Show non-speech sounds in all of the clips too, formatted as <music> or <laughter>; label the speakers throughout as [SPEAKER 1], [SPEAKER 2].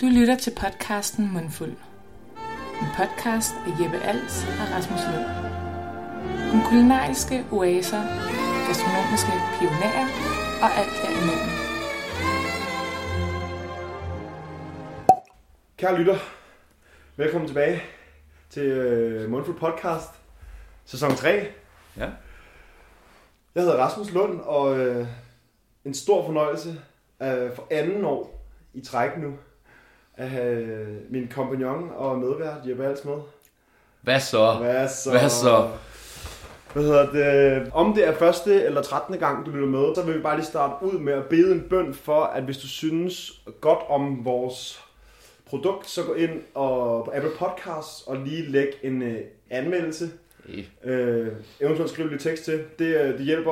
[SPEAKER 1] Du lytter til podcasten Mundfuld. En podcast af Jeppe Als og Rasmus Lund. Om kulinariske oaser, gastronomiske pionerer og alt derimellem.
[SPEAKER 2] Kære lytter, velkommen tilbage til øh, Mundfuld Podcast, sæson 3.
[SPEAKER 3] Ja.
[SPEAKER 2] Jeg hedder Rasmus Lund, og øh, en stor fornøjelse øh, for anden år i træk nu at have øh, min kompagnon og medvært Jeppe Als med.
[SPEAKER 3] Hvad så?
[SPEAKER 2] Hvad så?
[SPEAKER 3] Hvad så?
[SPEAKER 2] Hvad hedder det? Om det er første eller 13. gang, du lytter med, så vil vi bare lige starte ud med at bede en bøn for, at hvis du synes godt om vores produkt, så gå ind og på Apple Podcasts og lige læg en øh, anmeldelse.
[SPEAKER 3] Hey.
[SPEAKER 2] Øh, eventuelt skriv lidt tekst til. Det, øh, det hjælper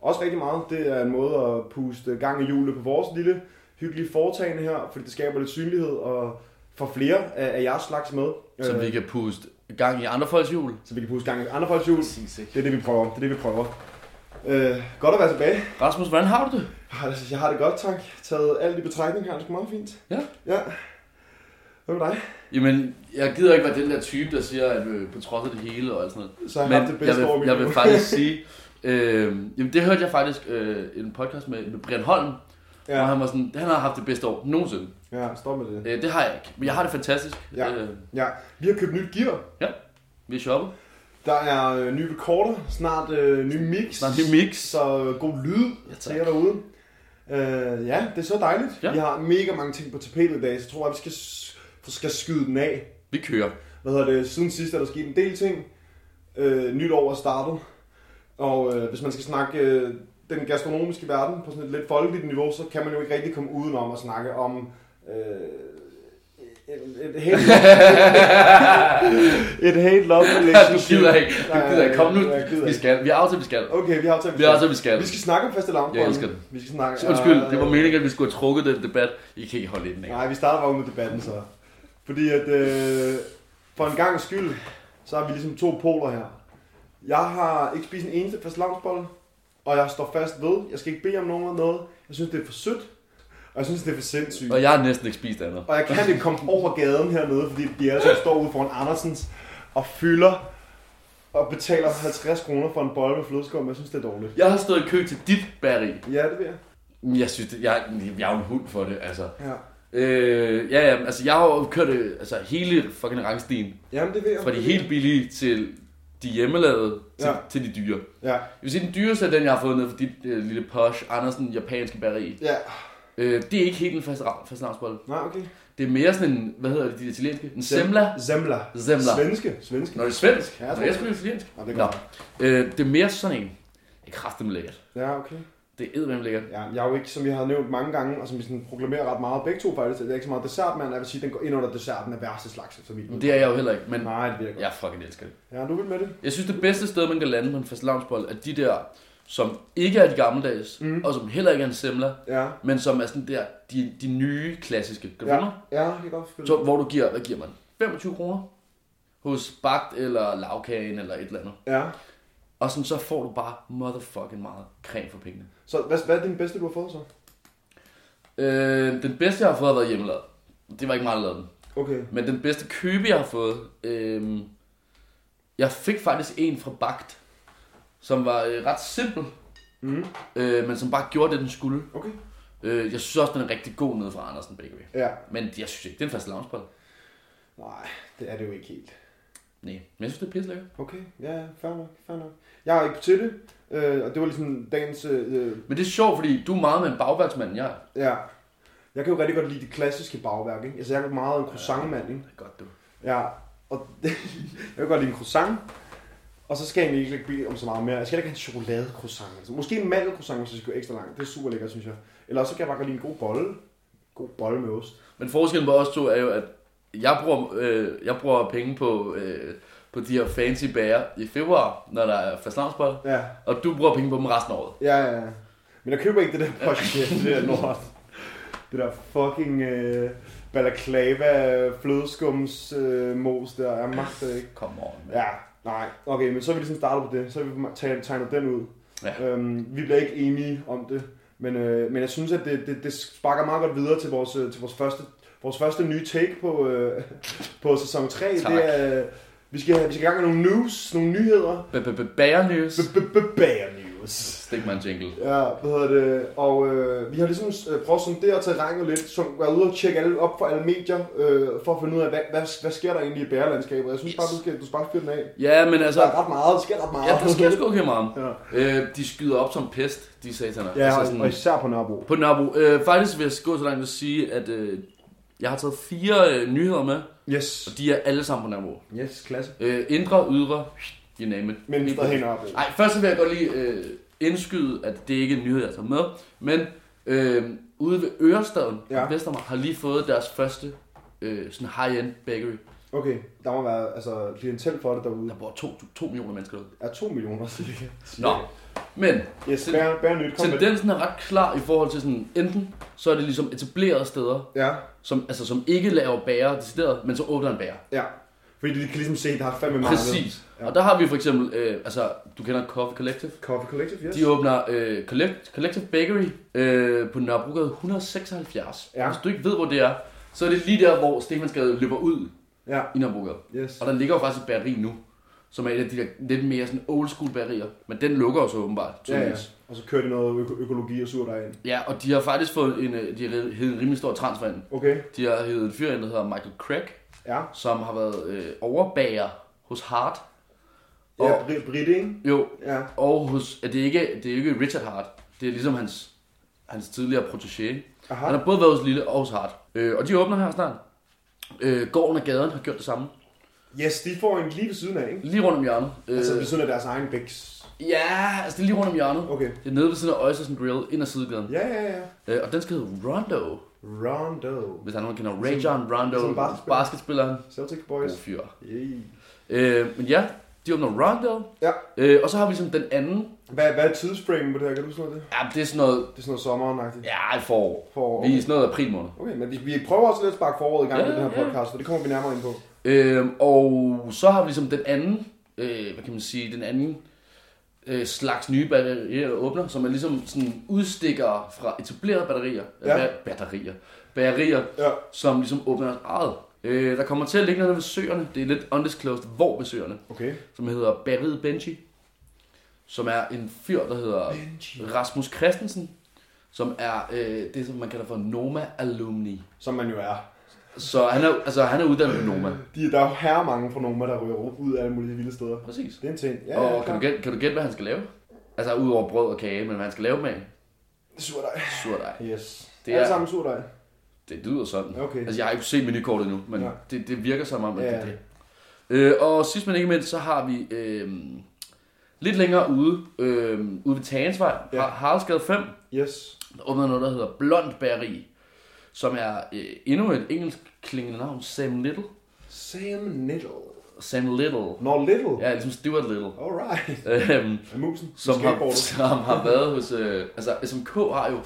[SPEAKER 2] også rigtig meget. Det er en måde at puste gang i hjulet på vores lille hyggelige foretagende her, fordi det skaber lidt synlighed og får flere af, af jeres slags med. øh,
[SPEAKER 3] Så vi kan puste gang i andre folks jul.
[SPEAKER 2] så vi kan puste gang i andre folks hjul.
[SPEAKER 3] Præcis, ikke?
[SPEAKER 2] Det er det, vi prøver. Det er det, vi prøver. Øh, godt at være tilbage.
[SPEAKER 3] Rasmus, hvordan har du det?
[SPEAKER 2] Altså, Jeg har det godt, tak. Taget alt i betragtning her. Det er sgu meget fint.
[SPEAKER 3] Ja.
[SPEAKER 2] Ja. Hvad med dig?
[SPEAKER 3] Jamen, jeg gider ikke være den der type, der siger, at øh, på trods af det hele og alt sådan noget.
[SPEAKER 2] Så har jeg haft det
[SPEAKER 3] Men jeg
[SPEAKER 2] bedste år i mit
[SPEAKER 3] vil, jeg
[SPEAKER 2] liv.
[SPEAKER 3] vil
[SPEAKER 2] <laughs>
[SPEAKER 3] faktisk sige, øh, jamen det hørte jeg faktisk øh, en podcast med, med Brian Holm, ja. hvor
[SPEAKER 2] Ja,
[SPEAKER 3] han var sådan, han har haft det bedste år nogensinde.
[SPEAKER 2] ja stop med det.
[SPEAKER 3] Øh, det har jeg ikke, men jeg har det fantastisk.
[SPEAKER 2] Ja.
[SPEAKER 3] Øh,
[SPEAKER 2] Ja, vi har købt nyt gear.
[SPEAKER 3] vi er shoppet.
[SPEAKER 2] Der er øh, nye recorder, snart øh, ny mix.
[SPEAKER 3] Snart ny mix.
[SPEAKER 2] Så øh, god lyd
[SPEAKER 3] Ja, tak.
[SPEAKER 2] til jer derude. Øh, ja, det er så dejligt.
[SPEAKER 3] Ja.
[SPEAKER 2] Vi har mega mange ting på tapetet i dag, så jeg tror, at vi skal, s- skal skyde den af.
[SPEAKER 3] Vi
[SPEAKER 2] <laughs>
[SPEAKER 3] kører.
[SPEAKER 2] hvad hedder det, siden sidst er der sket en del ting. Øh, nyt år er startet. Og øh, hvis man skal snakke øh, den gastronomiske verden på sådan et lidt folkeligt niveau, så kan man jo ikke rigtig komme udenom at snakke om øh, et, et,
[SPEAKER 3] <laughs>
[SPEAKER 2] helt, et helt love
[SPEAKER 3] du
[SPEAKER 2] relationship.
[SPEAKER 3] gider ikke. Du
[SPEAKER 2] Nej,
[SPEAKER 3] gider ikke. Kom nu.
[SPEAKER 2] jeg gider
[SPEAKER 3] Vi
[SPEAKER 2] ikke.
[SPEAKER 3] skal. Vi har aftalt, vi skal.
[SPEAKER 2] Okay, vi har aftalt,
[SPEAKER 3] Vi har aftalt, vi skal.
[SPEAKER 2] Vi skal snakke om faste lavn.
[SPEAKER 3] Jeg elsker det.
[SPEAKER 2] Vi skal snakke, Øh,
[SPEAKER 3] Undskyld, det var meningen, at vi skulle have trukket den debat. I kan ikke holde i den af.
[SPEAKER 2] Nej, vi starter bare ud med debatten så. Fordi at øh, for en gang skyld, så har vi ligesom to poler her. Jeg har ikke spist en eneste fast lavnsbolle, og jeg står fast ved, jeg skal ikke bede om nogen om noget. Jeg synes, det er for sødt, og jeg synes, det er for sindssygt.
[SPEAKER 3] Og jeg har næsten ikke spist andet.
[SPEAKER 2] Og jeg kan ikke komme over gaden hernede, fordi de er så står ude foran Andersens og fylder og betaler 50 kroner for en bolle med flødeskum. Jeg synes, det er dårligt.
[SPEAKER 3] Jeg har stået i kø til dit bageri.
[SPEAKER 2] Ja, det vil jeg.
[SPEAKER 3] Men Jeg synes, det, jeg, jeg er jo en hund for det, altså.
[SPEAKER 2] Ja.
[SPEAKER 3] Øh, ja, ja, altså jeg har jo kørt øh, altså, hele fucking rangstien.
[SPEAKER 2] Jamen, det vil jeg.
[SPEAKER 3] Fra de
[SPEAKER 2] Det vil jeg.
[SPEAKER 3] helt billige til de hjemmelavede til,
[SPEAKER 2] Ja.
[SPEAKER 3] ja. til de dyre.
[SPEAKER 2] Ja.
[SPEAKER 3] Jeg vil sige, den dyreste er den, jeg har fået ned fra dit øh, lille posh Andersen japanske bageri.
[SPEAKER 2] Ja.
[SPEAKER 3] Øh, det er ikke helt en fast, fast navnsbolle.
[SPEAKER 2] Nej, okay.
[SPEAKER 3] Det er mere sådan en, hvad hedder det, de italienske? En semla?
[SPEAKER 2] Zemla.
[SPEAKER 3] Semla.
[SPEAKER 2] Svenske. Svenske.
[SPEAKER 3] Når det er svensk.
[SPEAKER 2] Ja,
[SPEAKER 3] Ja,
[SPEAKER 2] jeg
[SPEAKER 3] jeg
[SPEAKER 2] tror
[SPEAKER 3] er
[SPEAKER 2] det.
[SPEAKER 3] sgu italiensk.
[SPEAKER 2] Nå, det er
[SPEAKER 3] Nå,
[SPEAKER 2] godt.
[SPEAKER 3] øh, det er mere sådan en. Det er kraftedeme lækkert.
[SPEAKER 2] Ja, okay.
[SPEAKER 3] Det er eddermame lækkert.
[SPEAKER 2] Ja, jeg er jo ikke, som vi har nævnt mange gange, og som vi sådan proklamerer ret meget, begge to faktisk, at det er ikke så meget dessertmand, jeg vil sige, at den går ind under desserten af værste slags efter mit.
[SPEAKER 3] Men Det er jeg jo heller ikke, men
[SPEAKER 2] Nej, det virker godt.
[SPEAKER 3] jeg fucking elsker det.
[SPEAKER 2] Ja, du vil med det.
[SPEAKER 3] Jeg synes, det bedste sted, man kan lande på en fastelavnsbold, er de der, som ikke er de gammeldags,
[SPEAKER 2] Mm.
[SPEAKER 3] mm. og som heller ikke er en semler,
[SPEAKER 2] Ja,
[SPEAKER 3] men som er sådan der, de, de nye klassiske. Kan du ja.
[SPEAKER 2] ja, jeg kan godt følge.
[SPEAKER 3] Så, hvor du giver, hvad giver man? 25 kroner hos bagt eller lavkagen eller et eller andet.
[SPEAKER 2] Ja.
[SPEAKER 3] Og sådan, så får du bare motherfucking meget creme for pengene.
[SPEAKER 2] Så hvad, hvad er din bedste, du har fået så?
[SPEAKER 3] Øh, den bedste, jeg har fået, har været hjemmelavet. Det var ikke meget lavet den.
[SPEAKER 2] Okay.
[SPEAKER 3] Men den bedste købe, jeg har fået, øh, jeg fik faktisk en fra bagt, som var øh, ret simpel.
[SPEAKER 2] Mm.
[SPEAKER 3] øh, men som bare gjorde det, den skulle.
[SPEAKER 2] Okay.
[SPEAKER 3] Øh, jeg synes også, den er rigtig god nede fra Andersen Bakery.
[SPEAKER 2] Ja.
[SPEAKER 3] Men jeg synes ikke, det er en fast loungebold.
[SPEAKER 2] Nej, det er det jo ikke helt.
[SPEAKER 3] Nej, men jeg synes, det er pisse lækkert.
[SPEAKER 2] Okay, ja, ja, fair nok, fair nok. Jeg er ikke til det, øh, og det var ligesom dagens, øh,
[SPEAKER 3] Men det er sjovt, fordi du er meget med en bagværtsmand, jeg er.
[SPEAKER 2] ja. Jeg kan jo rigtig godt lide det klassiske bagværk, ikke? Altså, jeg er meget en croissantmand, ikke?
[SPEAKER 3] Det er godt, du.
[SPEAKER 2] Ja, og <laughs> jeg kan godt lide en croissant. Og så skal jeg egentlig ikke bede om så meget mere. Jeg skal heller ikke have en chokoladecroissant. Altså. Måske en mandelcroissant, hvis jeg skal gå ekstra langt. Det er super lækkert, synes jeg. Eller også så kan jeg bare godt lide en god bolle. God bolle med ost.
[SPEAKER 3] Men forskellen på os to er jo, at jeg bruger, øh, jeg bruger penge på, øh, på de her fancy bager i februar, når der er fast loungebold,
[SPEAKER 2] Ja,
[SPEAKER 3] og du bruger penge på dem resten af året.
[SPEAKER 2] ja, ja. ja. Men jeg køber ikke det der poche, <laughs> det der lort. Det der fucking øh, balaclava flødeskums øh, mos der. Jeg magter det ikke.
[SPEAKER 3] Kom on, mand.
[SPEAKER 2] Ja, nej. Okay, men så er vi ligesom startet på det. Så har vi tag- tegnet den ud.
[SPEAKER 3] Ja.
[SPEAKER 2] Øhm, vi bliver ikke enige om det. Men, øh, men jeg synes, at det, det, det sparker meget godt videre til vores, øh, til vores første vores første nye take på, øh, på sæson 3.
[SPEAKER 3] Tak.
[SPEAKER 2] Det er, øh, vi skal, vi skal i gang med nogle news, nogle nyheder.
[SPEAKER 3] Bager News.
[SPEAKER 2] Bager news.
[SPEAKER 3] Stik mig en jingle.
[SPEAKER 2] Ja, hvad hedder det? Og øh, vi har ligesom øh, prøvet at sondere terrænet lidt, så være ude og tjekke alle op for alle medier, øh, for at finde ud af, hvad, hvad, hvad sker der egentlig i bærelandskabet. Jeg synes yes. bare, du skal, du skal bare fyre den af.
[SPEAKER 3] Ja, men altså...
[SPEAKER 2] Der er ret meget, der sker ret meget.
[SPEAKER 3] Ja, der
[SPEAKER 2] <laughs>
[SPEAKER 3] sker sgu okay meget.
[SPEAKER 2] Ja.
[SPEAKER 3] Øh, de skyder op som pest, de sataner.
[SPEAKER 2] Ja,
[SPEAKER 3] altså
[SPEAKER 2] og, og især på Nørrebro.
[SPEAKER 3] På Nørrebro. Øh, faktisk vil jeg gå så langt at sige, at øh, jeg har taget fire øh, nyheder med,
[SPEAKER 2] Yes.
[SPEAKER 3] og de er alle sammen på Nørrebro.
[SPEAKER 2] Yes, klasse.
[SPEAKER 3] Øh, indre, ydre, you name it.
[SPEAKER 2] Men der hænger op.
[SPEAKER 3] Nej, først så vil jeg godt lige øh, indskyde, at det ikke er en nyhed, jeg tager med. Men øh, ude ved Ørestaden,
[SPEAKER 2] Ja.
[SPEAKER 3] ja. Vestermark, har lige fået deres første øh, sådan high-end bakery.
[SPEAKER 2] Okay, der må være altså, klientel for det derude.
[SPEAKER 3] Der bor to, to millioner mennesker derude.
[SPEAKER 2] Er 2 millioner cirka.
[SPEAKER 3] Nå, men
[SPEAKER 2] Yes,
[SPEAKER 3] Til-
[SPEAKER 2] bær, bær nyt. Kom med. det.
[SPEAKER 3] tendensen er ret klar i forhold til sådan, enten så er det ligesom etablerede steder,
[SPEAKER 2] Ja,
[SPEAKER 3] som, altså, som ikke laver bager decideret, men så åbner en bager.
[SPEAKER 2] ja. Fordi de kan ligesom se, at der har fandme meget.
[SPEAKER 3] Præcis.
[SPEAKER 2] Ja.
[SPEAKER 3] Og der har vi for eksempel, øh, altså du kender Coffee Collective.
[SPEAKER 2] Coffee Collective, yes.
[SPEAKER 3] De åbner øh, Collect, Collective Bakery øh, på Nørrebrogade 176.
[SPEAKER 2] Ja.
[SPEAKER 3] Ja. Hvis du ikke ved, hvor det er, så er det lige der, hvor Stefansgade løber ud
[SPEAKER 2] Ja,
[SPEAKER 3] i Nørrebrogade.
[SPEAKER 2] yes.
[SPEAKER 3] Og der ligger jo faktisk et bageri nu, som er et af de der lidt mere sådan old school bagerier. Men den lukker jo så åbenbart,
[SPEAKER 2] Ja, ja.
[SPEAKER 3] tydeligvis.
[SPEAKER 2] Og så kører de noget øko- økologi og sur derind.
[SPEAKER 3] Ja, og de har faktisk fået en, øh, de har heddet en rimelig stor transfer ind.
[SPEAKER 2] Okay,
[SPEAKER 3] De har heddet en fyr ind, der hedder Michael Craig,
[SPEAKER 2] ja.
[SPEAKER 3] som har været øh, overbager hos Hart. Og,
[SPEAKER 2] Ja, Br- Britte, ikke?
[SPEAKER 3] Jo,
[SPEAKER 2] Ja.
[SPEAKER 3] og hos, er det, ikke, det er ikke Richard Hart. Det er ligesom hans, hans tidligere protégé.
[SPEAKER 2] Aha.
[SPEAKER 3] Han har både været hos Lille og hos Hart. Øh, og de åbner her snart. Øh, gården og gaden har gjort det samme.
[SPEAKER 2] Yes, de får en lige ved siden af, ikke?
[SPEAKER 3] Lige rundt om hjørnet. Øh,
[SPEAKER 2] Altså ved siden af deres egen bæks.
[SPEAKER 3] ja, altså det er lige rundt om hjørnet.
[SPEAKER 2] Okay.
[SPEAKER 3] Det er nede ved siden af Oysters and Grill, ind ad sidegaden.
[SPEAKER 2] Ja, ja, ja.
[SPEAKER 3] Øh, og den skal hedde Rondo.
[SPEAKER 2] Rondo.
[SPEAKER 3] Hvis der er nogen, der kender Ray John Rondo, altså
[SPEAKER 2] som basketball.
[SPEAKER 3] basketspilleren.
[SPEAKER 2] Celtic
[SPEAKER 3] God
[SPEAKER 2] Boys.
[SPEAKER 3] fyr.
[SPEAKER 2] Yeah.
[SPEAKER 3] Øh, men ja, de åbner Rondo.
[SPEAKER 2] Ja.
[SPEAKER 3] Øh, og så har vi ligesom den anden.
[SPEAKER 2] Hvad, hvad er tidsframen på det her? Kan du sådan noget det?
[SPEAKER 3] Ja, det er sådan noget...
[SPEAKER 2] Det er sådan noget sommeren
[SPEAKER 3] Ja, i forår.
[SPEAKER 2] Forår.
[SPEAKER 3] Vi er sådan noget april måned.
[SPEAKER 2] Okay, men vi, vi prøver også lidt at sparke foråret i gang
[SPEAKER 3] Ja,
[SPEAKER 2] med den her
[SPEAKER 3] ja.
[SPEAKER 2] podcast, for det kommer vi nærmere ind på.
[SPEAKER 3] Øh, og så har vi ligesom den anden... Øh, hvad kan man sige? Den anden øh, slags nye batterier, der åbner, som er ligesom sådan udstikker fra etablerede batterier.
[SPEAKER 2] Ja.
[SPEAKER 3] Ja. Batterier. Batterier,
[SPEAKER 2] Ja.
[SPEAKER 3] som ligesom åbner deres eget. Øh, der kommer til at ligge noget ved søerne. Det er lidt undisclosed, hvor ved søerne.
[SPEAKER 2] Okay.
[SPEAKER 3] som hedder Barry Benji, som er en fyr, der hedder
[SPEAKER 2] Benji.
[SPEAKER 3] Rasmus Christensen, som er øh, det, som man kalder for Noma Alumni.
[SPEAKER 2] Som man jo er.
[SPEAKER 3] Så han er, altså, han er uddannet på Noma.
[SPEAKER 2] De, der er jo herre mange fra Noma, der ryger ud af alle mulige vilde steder.
[SPEAKER 3] Præcis.
[SPEAKER 2] Det er en ting. Ja,
[SPEAKER 3] Og kan
[SPEAKER 2] ja,
[SPEAKER 3] du, gætte, kan du gætte, hvad han skal lave? Altså udover brød og kage, men hvad han skal lave med
[SPEAKER 2] Surdej.
[SPEAKER 3] surdej.
[SPEAKER 2] Yes.
[SPEAKER 3] Det
[SPEAKER 2] Det
[SPEAKER 3] er-
[SPEAKER 2] er... Alle sammen surdej.
[SPEAKER 3] Det lyder sådan.
[SPEAKER 2] Okay.
[SPEAKER 3] Altså jeg har ikke set menukortet endnu, men
[SPEAKER 2] Nej.
[SPEAKER 3] det, det virker som om, at
[SPEAKER 2] Ja.
[SPEAKER 3] det er det. Øh, og sidst men ikke mindst, så har vi øh, lidt længere ude, øh, ude ved Tagensvej,
[SPEAKER 2] Ja.
[SPEAKER 3] ja. Haraldsgade 5,
[SPEAKER 2] Yes.
[SPEAKER 3] Der åbner noget, der hedder Blond Bageri, som er øh, endnu et engelsk klingende navn, Sam Little.
[SPEAKER 2] Sam Little.
[SPEAKER 3] Sam Little.
[SPEAKER 2] Når Little.
[SPEAKER 3] Ja, ligesom Stuart Little. <laughs>
[SPEAKER 2] Alright.
[SPEAKER 3] Øhm,
[SPEAKER 2] Er musen?
[SPEAKER 3] som, har,
[SPEAKER 2] Skateboardet.
[SPEAKER 3] <laughs> som har været hos... Øh, altså, SMK har jo...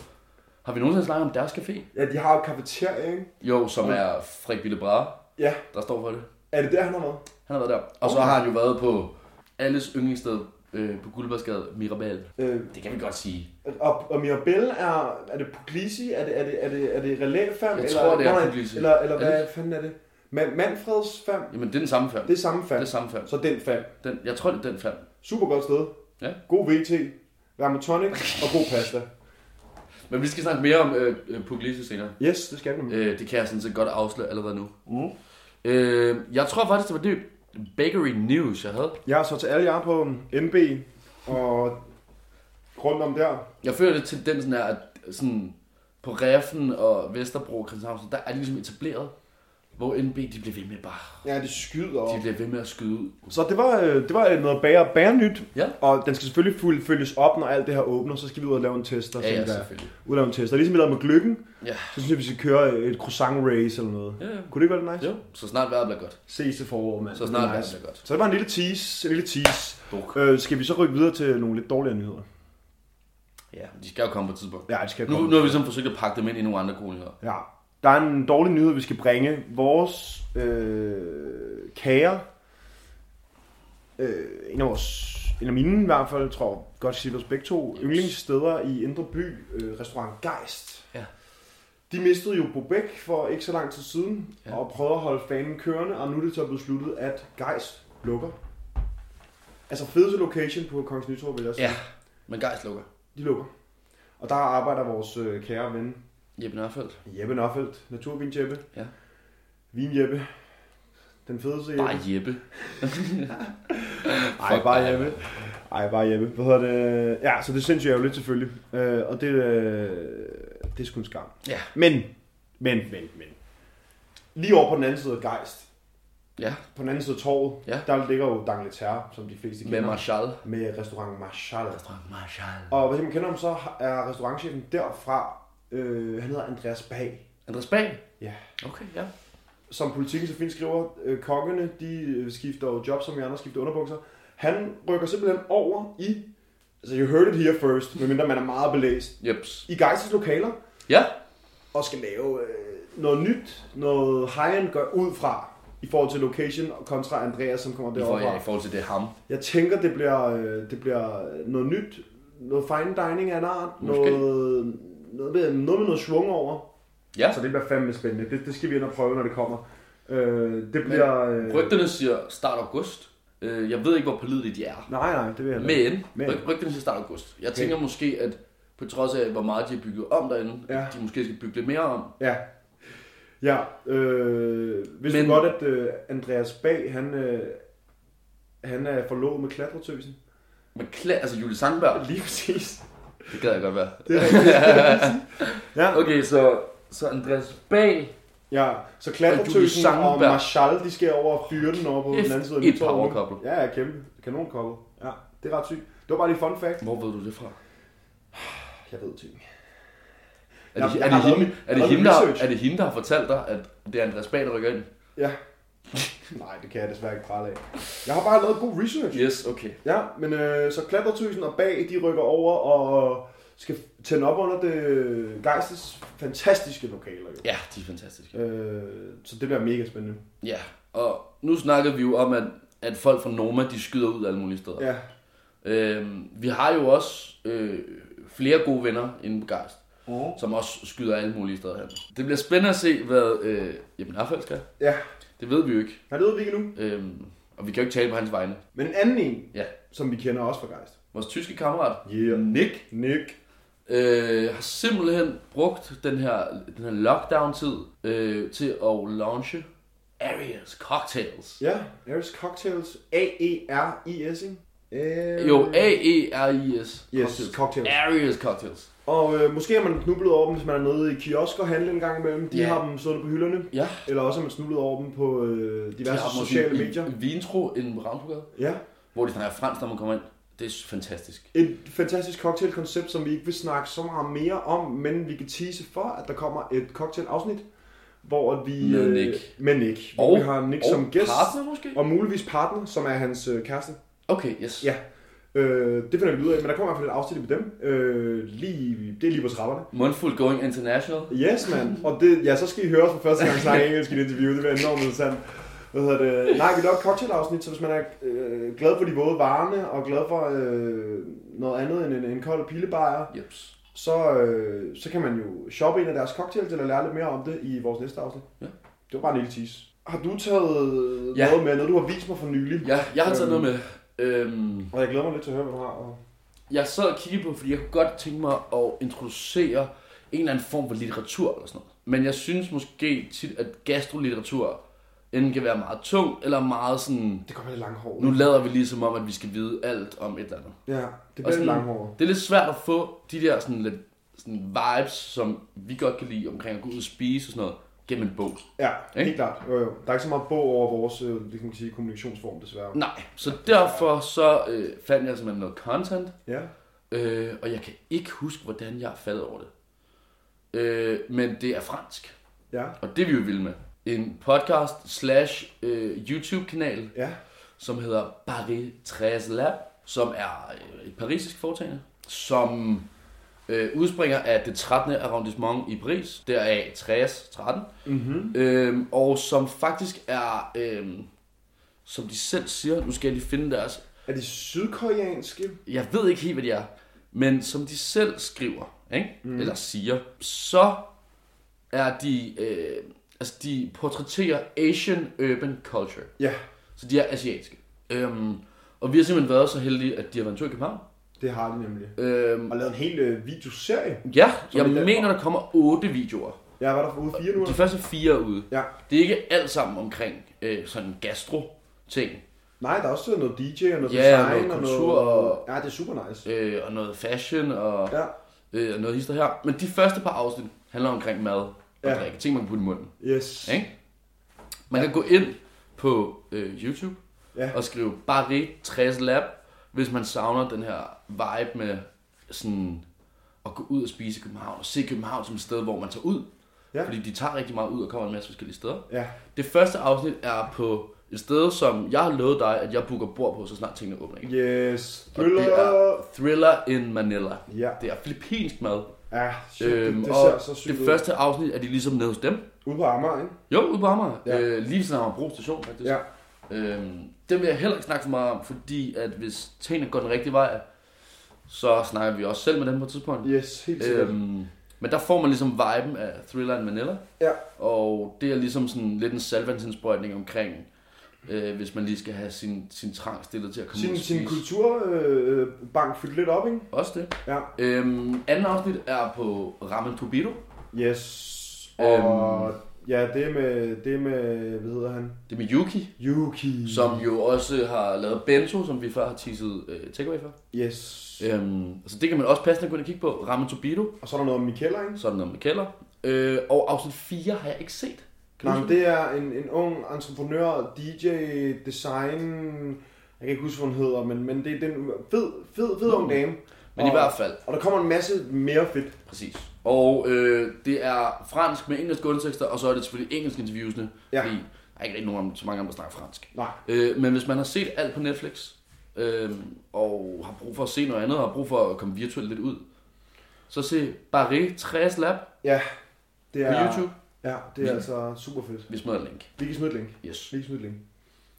[SPEAKER 3] Har vi nogensinde snakket om deres café?
[SPEAKER 2] Ja, de har jo kafeteria, ikke?
[SPEAKER 3] Jo, som er Frederik Ville Brahe,
[SPEAKER 2] Ja.
[SPEAKER 3] der står for det.
[SPEAKER 2] Er det der, han har med?
[SPEAKER 3] Han har været der. Og så har han jo været på alles yndlingssted øh, på Guldbergsgade, Mirabal.
[SPEAKER 2] Øh,
[SPEAKER 3] Det kan vi godt sige.
[SPEAKER 2] og, og Mirabelle er, er det Puglisi? Er det, er det, er det, er det relæfam?
[SPEAKER 3] Jeg
[SPEAKER 2] eller,
[SPEAKER 3] tror, det er
[SPEAKER 2] nej,
[SPEAKER 3] Puglisi.
[SPEAKER 2] Eller, eller
[SPEAKER 3] Er
[SPEAKER 2] hvad
[SPEAKER 3] det-
[SPEAKER 2] fanden er det? Man, Manfreds fam?
[SPEAKER 3] Jamen, det er den samme fam.
[SPEAKER 2] Det er samme fam.
[SPEAKER 3] Det er samme fam.
[SPEAKER 2] Så den fam.
[SPEAKER 3] Den, jeg tror, det er den fam.
[SPEAKER 2] Super godt sted.
[SPEAKER 3] Ja.
[SPEAKER 2] God VT. Varme tonic og god pasta.
[SPEAKER 3] Men vi skal snakke mere om øh, øh, Puglisi senere.
[SPEAKER 2] Yes, det skal vi. nemlig.
[SPEAKER 3] Øh, det kan jeg sådan set godt afsløre allerede nu.
[SPEAKER 2] Mm.
[SPEAKER 3] Øh, jeg tror faktisk, det var det bakery news, jeg havde.
[SPEAKER 2] Jeg er så til alle jer på MB og rundt om der.
[SPEAKER 3] Jeg føler, at tendensen er, at sådan, på Reffen og Vesterbro og Christianshavn, der er de ligesom etableret, hvor NB de bliver ved med bare...
[SPEAKER 2] Ja, det skyder.
[SPEAKER 3] De bliver ved med at skyde ud.
[SPEAKER 2] Så det var, øh, det var øh, noget bager, bager nyt.
[SPEAKER 3] Ja.
[SPEAKER 2] Og den skal selvfølgelig fuld- følges op, når alt det her åbner. Så skal vi ud og lave en test. Og
[SPEAKER 3] Ja, ja,
[SPEAKER 2] tænker jeg.
[SPEAKER 3] selvfølgelig.
[SPEAKER 2] ud og lave en test. Og ligesom vi lavede med gløggen,
[SPEAKER 3] Ja.
[SPEAKER 2] så synes jeg, vi skal køre øh, et croissant race eller noget.
[SPEAKER 3] Ja, ja.
[SPEAKER 2] Kunne det ikke være lidt nice?
[SPEAKER 3] Jo, så snart vejret bliver godt.
[SPEAKER 2] Ses til foråret, mand.
[SPEAKER 3] Så snart
[SPEAKER 2] Det er
[SPEAKER 3] vejret
[SPEAKER 2] nice.
[SPEAKER 3] bliver godt.
[SPEAKER 2] Så det var en lille tease. En lille tease.
[SPEAKER 3] Buk.
[SPEAKER 2] Øh, skal vi så rykke videre til nogle lidt dårligere nyheder?
[SPEAKER 3] Ja, de skal jo komme på et tidspunkt.
[SPEAKER 2] Ja, det skal
[SPEAKER 3] Nu,
[SPEAKER 2] komme.
[SPEAKER 3] nu har vi sådan forsøgt at pakke dem ind i nogle andre gode nyheder.
[SPEAKER 2] Ja. Der er en dårlig nyhed, vi skal bringe. Vores øh, kager, øh, en af vores, en af mine i hvert fald, tror jeg godt jeg kan sige vores begge to, yndlingssteder i Indre By, øh, restaurant Geist.
[SPEAKER 3] Ja.
[SPEAKER 2] De mistede jo Bobæk for ikke så lang tid siden,
[SPEAKER 3] Ja.
[SPEAKER 2] ja. og prøvede at holde fanen kørende, og nu er det så besluttet, at Geis lukker. Altså fedeste location på Kongens Nytorv, vil jeg sige.
[SPEAKER 3] Ja, men Geist lukker.
[SPEAKER 2] De lukker. Og der arbejder vores øh, kære ven
[SPEAKER 3] Jeppe Nørfeldt.
[SPEAKER 2] Jeppe Nørfeldt, Naturvin Jeppe.
[SPEAKER 3] Ja.
[SPEAKER 2] Vin Jeppe. Den fedeste Jeppe.
[SPEAKER 3] Bare Jeppe.
[SPEAKER 2] Ej, bare Jeppe. Ej, bare Jeppe. Hvad hedder det? Ja, så det er sindssygt ærgerligt selvfølgelig. Øh, og det, øh, det er sgu en skam.
[SPEAKER 3] Ja.
[SPEAKER 2] Men, men, men, men. Lige over på den anden side af Geist,
[SPEAKER 3] Ja,
[SPEAKER 2] på den anden side af torvet,
[SPEAKER 3] Ja.
[SPEAKER 2] der ligger jo Dangleterre, som de fleste
[SPEAKER 3] med
[SPEAKER 2] kender.
[SPEAKER 3] Marshall.
[SPEAKER 2] med restaurant Marshall.
[SPEAKER 3] Marshall.
[SPEAKER 2] Og hvis man kender ham, så er restaurantchefen derfra, øh, han hedder Andreas Bag.
[SPEAKER 3] Andreas Bag.
[SPEAKER 2] Ja.
[SPEAKER 3] Okay, ja.
[SPEAKER 2] Som politikken så fint skriver, øh, kongene, de øh, skifter jo job, som vi andre skifter underbukser. Han rykker simpelthen over i, altså you heard it here first, medmindre man er meget belæst,
[SPEAKER 3] Jeps.
[SPEAKER 2] i Geisers lokaler,
[SPEAKER 3] Ja.
[SPEAKER 2] og skal lave øh, noget nyt, noget high-end gør ud fra, i forhold til location kontra Andreas, som kommer
[SPEAKER 3] I, for,
[SPEAKER 2] derovre.
[SPEAKER 3] ja, I forhold til det er ham.
[SPEAKER 2] Jeg tænker, det bliver, øh, det bliver noget nyt. Noget fine dining af en art.
[SPEAKER 3] Måske.
[SPEAKER 2] Noget, noget, med, noget med noget svung over.
[SPEAKER 3] Ja.
[SPEAKER 2] Så det bliver fandme spændende. Det, det skal vi ind og prøve, når det kommer. Øh, det bliver... Øh,
[SPEAKER 3] Rygterne siger start august. Øh, Jeg ved ikke, hvor pålidelige de er.
[SPEAKER 2] nej, nej, det vil jeg ikke.
[SPEAKER 3] Men,
[SPEAKER 2] Men.
[SPEAKER 3] ryg- rygterne siger start august. Jeg tænker måske, at på trods af, hvor meget de har bygget om derinde,
[SPEAKER 2] Ja.
[SPEAKER 3] at de måske skal bygge lidt mere om.
[SPEAKER 2] Ja. Ja, øh, hvis
[SPEAKER 3] Men-
[SPEAKER 2] du godt, at øh, Andreas Bag, han, øh, han er forlovet med klatretøsen.
[SPEAKER 3] Men kla- altså Julie Sangberg,
[SPEAKER 2] Lige præcis.
[SPEAKER 3] det gad jeg godt være.
[SPEAKER 2] Det er rigtigt. ja.
[SPEAKER 3] <laughs> Okay, så, så Andreas Bag,
[SPEAKER 2] Ja, så
[SPEAKER 3] Og Julie
[SPEAKER 2] klatretøsen og,
[SPEAKER 3] Sangenberg.
[SPEAKER 2] og Marshall, de skal over og fyre den over på
[SPEAKER 3] Kæft,
[SPEAKER 2] den anden side af
[SPEAKER 3] et
[SPEAKER 2] Nytorv.
[SPEAKER 3] powerkouple.
[SPEAKER 2] Ja, ja, kæmpe. Kanonkoppel. Ja, det er ret sygt. Det var bare lige fun fact.
[SPEAKER 3] hvor ved du det fra?
[SPEAKER 2] Jeg ved ting.
[SPEAKER 3] Er det,
[SPEAKER 2] Jamen, jeg
[SPEAKER 3] er det,
[SPEAKER 2] har lavet
[SPEAKER 3] hende,
[SPEAKER 2] min-
[SPEAKER 3] er,
[SPEAKER 2] lavet min
[SPEAKER 3] det hende, der,
[SPEAKER 2] research.
[SPEAKER 3] er det hende, der har fortalt dig, at det er Andreas Bag, der rykker ind?
[SPEAKER 2] Ja. Nej, det kan jeg desværre ikke prale af. Jeg har bare lavet god research.
[SPEAKER 3] Yes, okay.
[SPEAKER 2] Ja, men øh, så klatretøsen og bag, de rykker over og skal tænde op under det Geistes fantastiske lokaler. Jo.
[SPEAKER 3] Ja, de er fantastiske.
[SPEAKER 2] Øh, så det bliver mega spændende.
[SPEAKER 3] Ja, og nu snakker vi jo om, at, at folk fra Noma, de skyder ud alle mulige steder.
[SPEAKER 2] Ja,
[SPEAKER 3] Øhm, vi har jo også øh, flere gode venner inde på Geist,
[SPEAKER 2] Mhm.
[SPEAKER 3] som også skyder alle mulige steder hen. Det bliver spændende at se, hvad øh, Jeppe Nørfeldt skal.
[SPEAKER 2] ja.
[SPEAKER 3] Det ved vi jo ikke.
[SPEAKER 2] Nej, det ved vi ikke nu.
[SPEAKER 3] Øhm, og vi kan jo ikke tale på hans vegne.
[SPEAKER 2] Men en anden en,
[SPEAKER 3] Ja.
[SPEAKER 2] som vi kender også fra Geist.
[SPEAKER 3] Vores tyske kammerat,
[SPEAKER 2] Yeah.
[SPEAKER 3] Nick,
[SPEAKER 2] Nick.
[SPEAKER 3] øh, har simpelthen brugt den her, den her lockdown-tid øh, til at launche Arias Cocktails.
[SPEAKER 2] Ja, Ares Cocktails. E A-E-R-I-S, ikke? Øh,
[SPEAKER 3] Jo, E A-E-R-I-S.
[SPEAKER 2] Yes, cocktails.
[SPEAKER 3] Arias Cocktails.
[SPEAKER 2] Og øh, måske har man knublet over dem, hvis man er nede i kiosk og handler en gang imellem. De
[SPEAKER 3] Ja.
[SPEAKER 2] har dem stående på hylderne.
[SPEAKER 3] Ja.
[SPEAKER 2] Eller også har man snublet over dem på øh,
[SPEAKER 3] De
[SPEAKER 2] diverse
[SPEAKER 3] har dem
[SPEAKER 2] sociale
[SPEAKER 3] også i-
[SPEAKER 2] medier.
[SPEAKER 3] I Vintro, en restaurant,
[SPEAKER 2] Ja,
[SPEAKER 3] hvor de snakker fransk, når man kommer ind. Det er fantastisk.
[SPEAKER 2] et fantastisk cocktailkoncept, som vi ikke vil snakke så meget mere om, men vi kan tease for, at der kommer et cocktailafsnit, hvor at vi...
[SPEAKER 3] Med Nick.
[SPEAKER 2] Øh, med Nick. Hvor vi har Nick
[SPEAKER 3] og
[SPEAKER 2] som gæst.
[SPEAKER 3] partner måske?
[SPEAKER 2] Og muligvis partner, som er hans øh, kæreste.
[SPEAKER 3] Okay, yes.
[SPEAKER 2] Ja, øh, det finder vi ud af, men der kommer i hvert fald et afsnit med dem. Øh, lige, det er lige på trapperne.
[SPEAKER 3] Mundful Going International.
[SPEAKER 2] Yes, man. Og det, ja, så skal I høre os for første gang snakke engelsk i et interview. Det bliver enormt interessant. Hvad hedder det? Nej, vi laver et cocktailafsnit, så hvis man er øh, glad for de våde varerne, og glad for øh, noget andet end en, en kold pilebajer,
[SPEAKER 3] Jeps.
[SPEAKER 2] så, øh, så kan man jo shoppe en af deres cocktails, eller lære lidt mere om det i vores næste afsnit.
[SPEAKER 3] Ja.
[SPEAKER 2] Det var bare en lille tease. Har du taget
[SPEAKER 3] Ja.
[SPEAKER 2] ja. noget med, noget du har vist mig for nylig?
[SPEAKER 3] Ja, jeg har taget noget med. Øhm,
[SPEAKER 2] Og jeg glæder mig lidt til at høre, hvad du har. Og...
[SPEAKER 3] jeg sad og kiggede på, fordi jeg kunne godt tænke mig at introducere en eller anden form for litteratur eller sådan noget. Men jeg synes måske tit, at gastrolitteratur enten kan være meget tung, eller meget sådan...
[SPEAKER 2] Det kommer lidt langhåret.
[SPEAKER 3] Nu lader vi lige som om, at vi skal vide alt om et eller andet.
[SPEAKER 2] Ja, det
[SPEAKER 3] Og
[SPEAKER 2] bliver lidt
[SPEAKER 3] sådan-
[SPEAKER 2] langhåret.
[SPEAKER 3] Det er lidt svært at få de der sådan lidt sådan vibes, som vi godt kan lide omkring at gå ud og spise og sådan noget, gennem en bog.
[SPEAKER 2] Ja,
[SPEAKER 3] Ikke?
[SPEAKER 2] ikke? helt klart. Jo, jo. Der er ikke så meget bog over vores øh, det kan man sige, kommunikationsform, desværre.
[SPEAKER 3] Nej, så derfor så øh, fandt jeg simpelthen noget content,
[SPEAKER 2] Ja.
[SPEAKER 3] øh, og jeg kan ikke huske, hvordan jeg er faldet over det. Øh, men det er fransk,
[SPEAKER 2] Ja.
[SPEAKER 3] og det er vi jo vilde med. En podcast slash øh, YouTube-kanal,
[SPEAKER 2] Ja.
[SPEAKER 3] som hedder Paris 13 Lab, som er øh, et parisisk foretagende, som øh, udspringer af det 13. arrondissement i Paris, deraf 60, 13,
[SPEAKER 2] Mm-hmm.
[SPEAKER 3] øhm, og som faktisk er, øhm, som de selv siger, nu skal jeg lige finde deres,
[SPEAKER 2] Er de sydkoreanske?
[SPEAKER 3] jeg ved ikke helt, hvad de er, men som de selv skriver, ikke? Mm. eller siger, så er, de, øh, altså de portrætterer Asian urban culture.
[SPEAKER 2] Ja,
[SPEAKER 3] Så de er asiatiske. Øhm, og vi har simpelthen været så heldige, at de har været en tur i København.
[SPEAKER 2] det har de nemlig.
[SPEAKER 3] Øhm,
[SPEAKER 2] Og lavet en hel øh, videoserie.
[SPEAKER 3] ja,
[SPEAKER 2] Som
[SPEAKER 3] jeg
[SPEAKER 2] i Danmark.
[SPEAKER 3] mener, der kommer otte videoer.
[SPEAKER 2] Jeg var der for ude fire nu.
[SPEAKER 3] De første fire er ude.
[SPEAKER 2] Ja.
[SPEAKER 3] Det er ikke alt sammen omkring øh, sådan gastro-ting.
[SPEAKER 2] Nej, der er også øh, noget DJ og noget
[SPEAKER 3] Ja,
[SPEAKER 2] design
[SPEAKER 3] noget
[SPEAKER 2] og
[SPEAKER 3] kultur og-
[SPEAKER 2] Ja, det er super nice.
[SPEAKER 3] Øh, og noget fashion og,
[SPEAKER 2] Ja,
[SPEAKER 3] øh, og noget hister her. Men de første par afsnit handler omkring mad og
[SPEAKER 2] Ja.
[SPEAKER 3] ja. drikke. Ting, man kan putte i munden.
[SPEAKER 2] yes.
[SPEAKER 3] Ikke? Man kan gå ind på øh, YouTube
[SPEAKER 2] Ja.
[SPEAKER 3] og skrive Barre 60 Lab, hvis man savner den her vibe med sådan at gå ud og spise i København, og se København som et sted, hvor man tager ud.
[SPEAKER 2] Ja.
[SPEAKER 3] Fordi de tager rigtig meget ud og kommer en masse forskellige steder.
[SPEAKER 2] Ja,
[SPEAKER 3] Det første afsnit er på et sted, som jeg har lovet dig, at jeg booker bord på, så snart tingene åbner. Ikke?
[SPEAKER 2] yes.
[SPEAKER 3] Og det er
[SPEAKER 2] Thriller.
[SPEAKER 3] Thriller in Manila.
[SPEAKER 2] Ja,
[SPEAKER 3] Det er filippinsk mad.
[SPEAKER 2] ja shit, øhm, det, det ser
[SPEAKER 3] og
[SPEAKER 2] så sygt
[SPEAKER 3] det
[SPEAKER 2] ud.
[SPEAKER 3] første afsnit er de ligesom nede hos dem.
[SPEAKER 2] Ude på Amager, ikke?
[SPEAKER 3] Jo, ude på Amager.
[SPEAKER 2] Ja.
[SPEAKER 3] Ja. Øh, lige ved siden af Amagerbro station, faktisk.
[SPEAKER 2] Ja.
[SPEAKER 3] Øhm, det vil jeg heller ikke snakke for meget om, fordi at hvis tingene går den rigtige vej, så snakker vi også selv med dem på et tidspunkt.
[SPEAKER 2] Yes, helt sikkert. Øhm,
[SPEAKER 3] Øhm, men der får man ligesom viben af Thriller and Manila,
[SPEAKER 2] ja,
[SPEAKER 3] og det er ligesom sådan lidt en salvandsindsprøjtning omkring, øh, hvis man lige skal have sin, sin trang stillet til at komme ud
[SPEAKER 2] sin, sin
[SPEAKER 3] og spise.
[SPEAKER 2] kulturbank øh, bank fyldt lidt op, ikke?
[SPEAKER 3] Også det.
[SPEAKER 2] Ja,
[SPEAKER 3] Øhm, anden afsnit er på Ramen Tobito.
[SPEAKER 2] yes.
[SPEAKER 3] Øhm,
[SPEAKER 2] Og ja, det er med, det er med, hvad hedder han?
[SPEAKER 3] Det er med Yuki,
[SPEAKER 2] Yuki.
[SPEAKER 3] som jo også har lavet Bento, som vi før har teaset øh, Takeaway for.
[SPEAKER 2] Yes.
[SPEAKER 3] Øhm, så det kan man også passende gå ind og kigge på. Ramen Tobito,
[SPEAKER 2] Og så er der noget om Mikkeller, ikke?
[SPEAKER 3] så er der noget med Keller. Øh, og afsnit 4 har jeg ikke set. Kan
[SPEAKER 2] Nej,
[SPEAKER 3] du
[SPEAKER 2] men
[SPEAKER 3] huske
[SPEAKER 2] det er en, en ung entreprenør, DJ, design, jeg kan ikke huske, hvad hun hedder, men, men det er den fed, fed, fed ung dame.
[SPEAKER 3] det? Men i
[SPEAKER 2] og,
[SPEAKER 3] hvert fald,
[SPEAKER 2] Og der kommer en masse mere fedt.
[SPEAKER 3] præcis. Og øh, det er fransk med engelske undertekster, og så er det selvfølgelig engelsk interviewsene.
[SPEAKER 2] Ja.
[SPEAKER 3] Fordi der er ikke rigtig nogen, om- så mange om, der snakker fransk.
[SPEAKER 2] Nej,
[SPEAKER 3] Øh, men hvis man har set alt på Netflix, øh, og har brug for at se noget andet, og har brug for at komme virtuelt lidt ud, så se Barré 60 Lab
[SPEAKER 2] ja, det
[SPEAKER 3] på
[SPEAKER 2] er...
[SPEAKER 3] YouTube.
[SPEAKER 2] Ja, det er altså super fedt.
[SPEAKER 3] Vi smider en link.
[SPEAKER 2] Vi kan smide et link.
[SPEAKER 3] Yes.
[SPEAKER 2] Vi kan smide et link.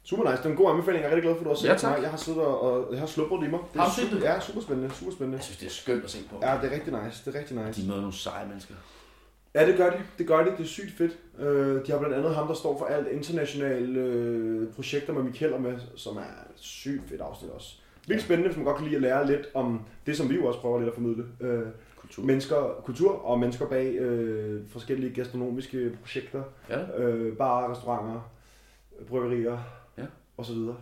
[SPEAKER 2] Super nice. Det er en god anbefaling. Jeg er rigtig glad for, at du har set
[SPEAKER 3] Ja, tak.
[SPEAKER 2] mig. Jeg har siddet og, og jeg har slubret det i mig. Det
[SPEAKER 3] Har
[SPEAKER 2] er
[SPEAKER 3] du set
[SPEAKER 2] super,
[SPEAKER 3] det?
[SPEAKER 2] Ja, super spændende. Super spændende.
[SPEAKER 3] Jeg synes, det er skønt at se på.
[SPEAKER 2] Ja, det er rigtig nice. Det er rigtig nice.
[SPEAKER 3] De møder nogle seje mennesker.
[SPEAKER 2] Ja, det gør de. Det gør de. Det er sygt fedt. Øh, de har blandt andet ham, der står for alt internationale øh, projekter med Mikkel og med, som er et sygt fedt afsnit også. Vildt spændende, hvis man godt kan lide at lære lidt om det, som vi jo også prøver lidt at formidle. Øh,
[SPEAKER 3] Kultur.
[SPEAKER 2] mennesker, kultur og mennesker bag øh, forskellige gastronomiske projekter.
[SPEAKER 3] Ja.
[SPEAKER 2] Øh, barer, restauranter, bryggerier
[SPEAKER 3] Ja.
[SPEAKER 2] og så videre.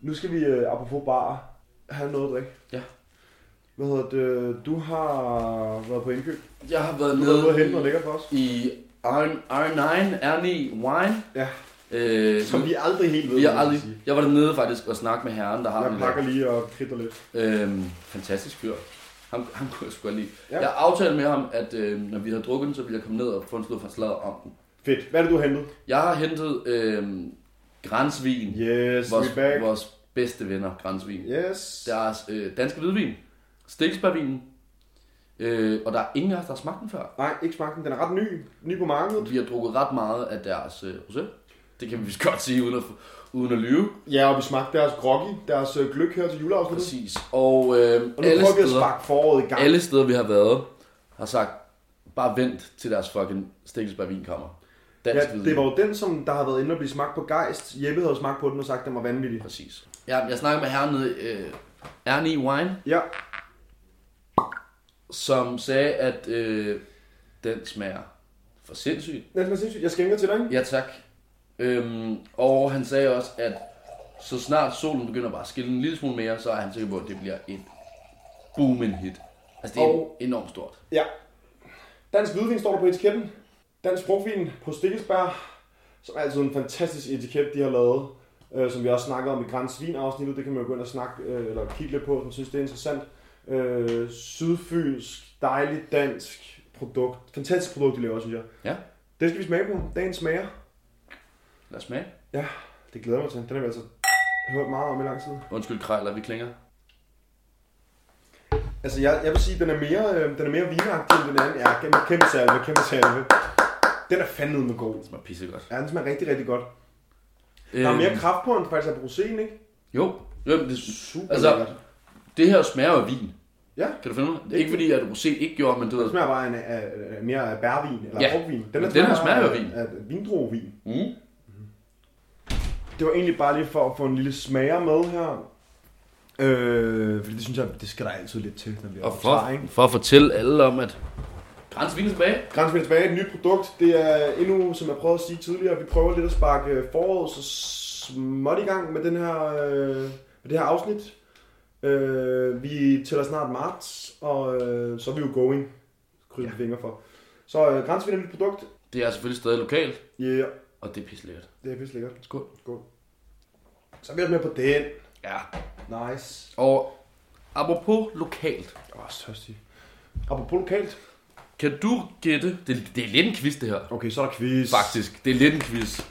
[SPEAKER 2] Nu skal vi, øh, apropos bar, have noget at drikke.
[SPEAKER 3] Ja.
[SPEAKER 2] Hvad hedder det? Du har været på indkøb.
[SPEAKER 3] Jeg har været
[SPEAKER 2] Du har været ude og
[SPEAKER 3] nede
[SPEAKER 2] hente noget lækkert for os.
[SPEAKER 3] i R- R9, R9 Wine.
[SPEAKER 2] Ja.
[SPEAKER 3] Øh,
[SPEAKER 2] Som vi aldrig helt ved.
[SPEAKER 3] vi har
[SPEAKER 2] hvad man
[SPEAKER 3] aldrig,
[SPEAKER 2] skal sige.
[SPEAKER 3] jeg var dernede faktisk og snakke med herren, der har
[SPEAKER 2] Jeg
[SPEAKER 3] den
[SPEAKER 2] pakker
[SPEAKER 3] der.
[SPEAKER 2] lige og kridter lidt.
[SPEAKER 3] Øhm, fantastisk fyr. Ham, ham kunne jeg sgu godt lide.
[SPEAKER 2] Ja.
[SPEAKER 3] Ja. Jeg aftalte med ham, at øh, når vi havde drukket den, så ville jeg komme ned og få en slud fra slaget om den.
[SPEAKER 2] Fedt. Hvad er det, du har hentet?
[SPEAKER 3] Jeg har hentet øh, Grænsvin.
[SPEAKER 2] Yes,
[SPEAKER 3] vores,
[SPEAKER 2] we back.
[SPEAKER 3] vores bedste venner, Grænsvin.
[SPEAKER 2] Yes.
[SPEAKER 3] Deres øh, danske hvidvin, Stiksbærvinen. Øh, og der er ingen af os, der har smagt den før.
[SPEAKER 2] Nej, ikke smagt den. Den er ret ny. Ny på markedet.
[SPEAKER 3] Vi har drukket ret meget af deres øh, rosé. Det kan vi vist godt sige, uden at, uden at lyve.
[SPEAKER 2] Ja, og vi smagte deres groggy, deres øh, gløk her til juleafsnittet.
[SPEAKER 3] Præcis. Og, øh,
[SPEAKER 2] Og nu
[SPEAKER 3] alle,
[SPEAKER 2] prøver vi at
[SPEAKER 3] steder,
[SPEAKER 2] sparke foråret i gang.
[SPEAKER 3] alle steder, vi har været, har sagt, bare vent til deres fucking stikkelsbærvin kommer. Dansk
[SPEAKER 2] Ja,
[SPEAKER 3] ja,
[SPEAKER 2] det var jo den, som der har været inde og blive smagt på Geist. Jeppe havde smagt på den og sagt, at den var vanvittig.
[SPEAKER 3] Præcis. Jeg, jeg snakkede med herren nede, øh, Ernie Wine,
[SPEAKER 2] Ja,
[SPEAKER 3] som sagde, at øh, den smager for sindssygt.
[SPEAKER 2] den er sindssygt. Jeg skænker til dig, ikke?
[SPEAKER 3] Ja, tak. Øhm, og han sagde også, at så snart solen begynder bare at skille en lille smule mere, så er han sikker på, at det bliver et booming hit. Altså, det er
[SPEAKER 2] Og-
[SPEAKER 3] og... enormt stort.
[SPEAKER 2] Ja. Dansk hvidvin står der på etiketten. Dansk sprogvin på Stikkelsberg, som er altid en fantastisk etiket, de har lavet. Øh, som vi også snakkede om i Grænsvin afsnittet, det kan man jo gå ind og snakke, øh, eller kigge lidt på, som synes, det er interessant. Øh, sydfynsk, dejligt dansk produkt. Fantastisk produkt, de laver, synes jeg.
[SPEAKER 3] Ja,
[SPEAKER 2] Det skal vi smage på. Dagens smager.
[SPEAKER 3] lad os smage.
[SPEAKER 2] Ja, det glæder jeg mig til. Den har vi altså hørt meget om i lang tid.
[SPEAKER 3] Undskyld, krejler, vi klinger.
[SPEAKER 2] Altså, jeg, jeg vil sige, den er mere, øh, den er mere vinagtig end den anden. Ja, kæmpe, kæmpe salve, kæmpe salve. Den er fandme med god.
[SPEAKER 3] Det smager pissegodt.
[SPEAKER 2] Ja, den smager rigtig, rigtig godt.
[SPEAKER 3] Øhm,
[SPEAKER 2] Der er mere kraft på den faktisk af brusen, ikke?
[SPEAKER 3] Jo, jo men det,
[SPEAKER 2] Super
[SPEAKER 3] Altså-
[SPEAKER 2] altså... lækkert.
[SPEAKER 3] det her smager jo af vin.
[SPEAKER 2] Ja.
[SPEAKER 3] Kan du finde mig? Det er ikke fordi, at rosé ikke gjorde, men du ved...
[SPEAKER 2] Den smager bare en, af, af, mere af bærvin eller
[SPEAKER 3] Ja.
[SPEAKER 2] ja. råvin.
[SPEAKER 3] Men den
[SPEAKER 2] smager
[SPEAKER 3] her smager jo af vin.
[SPEAKER 2] Af, af vindruevin.
[SPEAKER 3] Mm.
[SPEAKER 2] Det var egentlig bare lige for at få en lille smager med her. Øh, fordi det synes jeg, det skal der altid lidt til, når vi
[SPEAKER 3] Og
[SPEAKER 2] på tager,
[SPEAKER 3] for,
[SPEAKER 2] ikke?
[SPEAKER 3] for at fortælle alle om, at... Grænsvin tilbage.
[SPEAKER 2] Grænsen tilbage, et nyt produkt. Det er endnu, som jeg prøvede at sige tidligere, vi prøver lidt at sparke øh, foråret så småt i gang med, den her, øh, med det her afsnit. Øh, vi tæller snart marts, og øh, så er vi jo going. Krydser ja. fingre for. Så øh, grænsen er et nyt produkt.
[SPEAKER 3] Det er selvfølgelig stadig lokalt,
[SPEAKER 2] Ja, yeah,
[SPEAKER 3] og det er pisse lækkert.
[SPEAKER 2] det er pisse lækkert.
[SPEAKER 3] Skål.
[SPEAKER 2] Skål. Så er vi også med på den.
[SPEAKER 3] Ja.
[SPEAKER 2] Nice.
[SPEAKER 3] Og apropos lokalt,
[SPEAKER 2] Åh, oh, tørstig. Apropos lokalt.
[SPEAKER 3] kan du gætte... Det, det er lidt en quiz, det her.
[SPEAKER 2] Okay, så er der quiz.
[SPEAKER 3] Faktisk, det er lidt en quiz.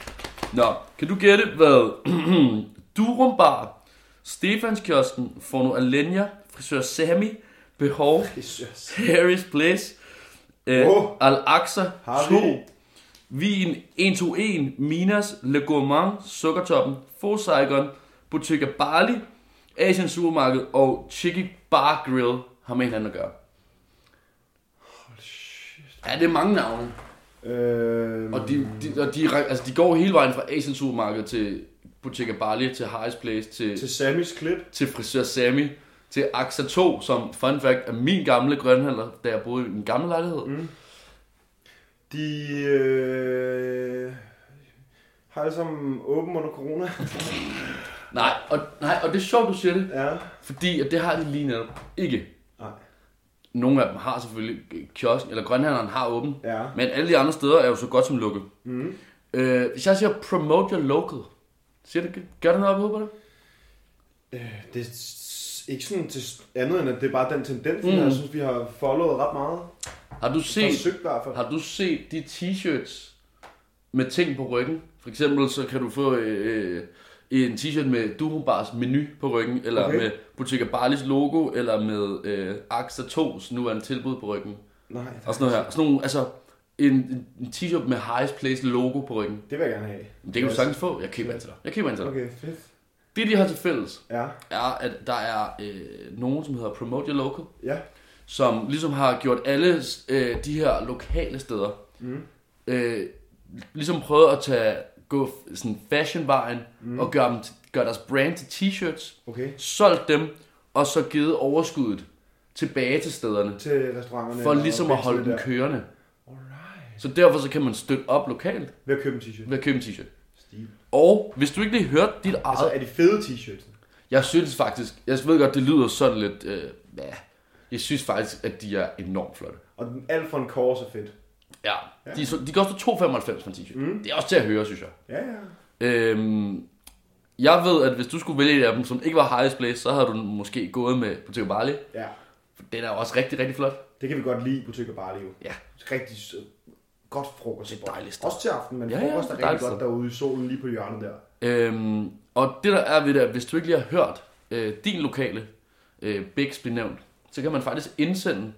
[SPEAKER 3] Nå, kan du gætte, hvad <clears throat> Durum Bar, Stefanskiosken, Forno Alenia, Frisør Sami, Behov,
[SPEAKER 2] Jesus.
[SPEAKER 3] Harry's Place, øh,
[SPEAKER 2] Åh.
[SPEAKER 3] Al-Aqsa,
[SPEAKER 2] Harry.
[SPEAKER 3] 2, Wien 121, Minas, Le Gourmand, Sukkertoppen, Faux Saigon, Bottega Barley, Asian Supermarked og Chicky Bar Grill har med hinanden at gøre. Ja, det er mange navne.
[SPEAKER 2] Øhm,
[SPEAKER 3] Og de, de, og de, altså, de går hele vejen fra Asian Supermarked til Bottega Barley, til Harris Place, til, til,
[SPEAKER 2] Til Sammys klip.
[SPEAKER 3] til frisør Sammy, til Axa 2, som fun fact er min gamle grønhandler, da jeg boede i min gamle lejlighed. Mm.
[SPEAKER 2] De øh, har alle sammen åben under corona. <laughs>
[SPEAKER 3] Nej, og, nej, og det er sjovt, du siger det,
[SPEAKER 2] ja.
[SPEAKER 3] fordi at det har de lige netop ikke.
[SPEAKER 2] Nej.
[SPEAKER 3] Nogle af dem har selvfølgelig kiosken, eller grønhandleren har åben,
[SPEAKER 2] Ja. Mhm.
[SPEAKER 3] men alle de andre steder er jo så godt som lukket. Mm. Øh, hvis jeg siger promote your local, siger det, gør det noget op i hovedet på dig?
[SPEAKER 2] Øh, det er s- ikke sådan til s- andet end, at det er bare den tendens, mm.
[SPEAKER 3] Mm.
[SPEAKER 2] jeg synes, vi har followet ret meget.
[SPEAKER 3] Har du set...
[SPEAKER 2] Forsøgt i hvert fald.
[SPEAKER 3] Har du set de t-shirts med ting på ryggen? For eksempel så kan du få øh, øh, en t-shirt med Durobars menu på ryggen, eller
[SPEAKER 2] Okay.
[SPEAKER 3] okay. med Bottega Barlis logo, eller med øh, Axa 2's nuværende tilbud på ryggen.
[SPEAKER 2] Nej,
[SPEAKER 3] Og sådan noget her. Sådan nogle, altså, en, en- en t-shirt med Highest Place logo på ryggen.
[SPEAKER 2] det vil jeg gerne have.
[SPEAKER 3] Det kan du sagtens få. Jeg køber en til dig. Jeg køber en til dig.
[SPEAKER 2] Okay, fedt.
[SPEAKER 3] Det, de har til fælles,
[SPEAKER 2] Ja,
[SPEAKER 3] er, at der er øh, nogen, som hedder Promote Your Local,
[SPEAKER 2] ja.
[SPEAKER 3] som ligesom har gjort alle øh, de her lokale steder,
[SPEAKER 2] Mm.
[SPEAKER 3] øh, ligesom prøvet at tage, gå f- sådan fashionvejen mm. og gøre, dem, t- gøre deres brand til t-shirts,
[SPEAKER 2] Okay.
[SPEAKER 3] solgt dem, og så givet overskuddet tilbage til stederne,
[SPEAKER 2] Til restauranterne.
[SPEAKER 3] for
[SPEAKER 2] og
[SPEAKER 3] ligesom at holde
[SPEAKER 2] bækstene
[SPEAKER 3] dem
[SPEAKER 2] der.
[SPEAKER 3] kørende.
[SPEAKER 2] Alright.
[SPEAKER 3] Så derfor så kan man støtte op lokalt
[SPEAKER 2] Ved at købe en t-shirt.
[SPEAKER 3] ved at købe en t-shirt.
[SPEAKER 2] Stil.
[SPEAKER 3] Og hvis du ikke lige hørte dit eget...
[SPEAKER 2] Altså, er de fede t-shirts?
[SPEAKER 3] Jeg synes faktisk, jeg ved godt, det lyder sådan lidt... Øh, ja, jeg synes faktisk, at de er enormt flotte.
[SPEAKER 2] Og den alt for en kors er fedt.
[SPEAKER 3] Ja,
[SPEAKER 2] Ja.
[SPEAKER 3] de, er så- de koster 2,95 for en t-shirt. Mm. Det er også til at høre, synes jeg.
[SPEAKER 2] Ja, ja.
[SPEAKER 3] Øhm, jeg ved, at hvis du skulle vælge en af dem, som ikke var highest place, så havde du måske gået med Bottega Barley.
[SPEAKER 2] Ja.
[SPEAKER 3] For den er jo også rigtig, rigtig flot.
[SPEAKER 2] Det kan vi godt lide i Butikker Barley jo.
[SPEAKER 3] Ja.
[SPEAKER 2] Rigtig sød. godt frokost.
[SPEAKER 3] Det er et dejligt sted.
[SPEAKER 2] Også til aften, men
[SPEAKER 3] Ja,
[SPEAKER 2] ja,
[SPEAKER 3] ja,
[SPEAKER 2] frokost
[SPEAKER 3] det
[SPEAKER 2] er
[SPEAKER 3] er
[SPEAKER 2] rigtig
[SPEAKER 3] dejligt
[SPEAKER 2] godt
[SPEAKER 3] sted.
[SPEAKER 2] derude i solen lige på hjørnet der.
[SPEAKER 3] Øhm, og det der er ved det, at hvis du ikke lige har hørt øh, din lokale øh, Bix blive nævnt, så kan man faktisk indsende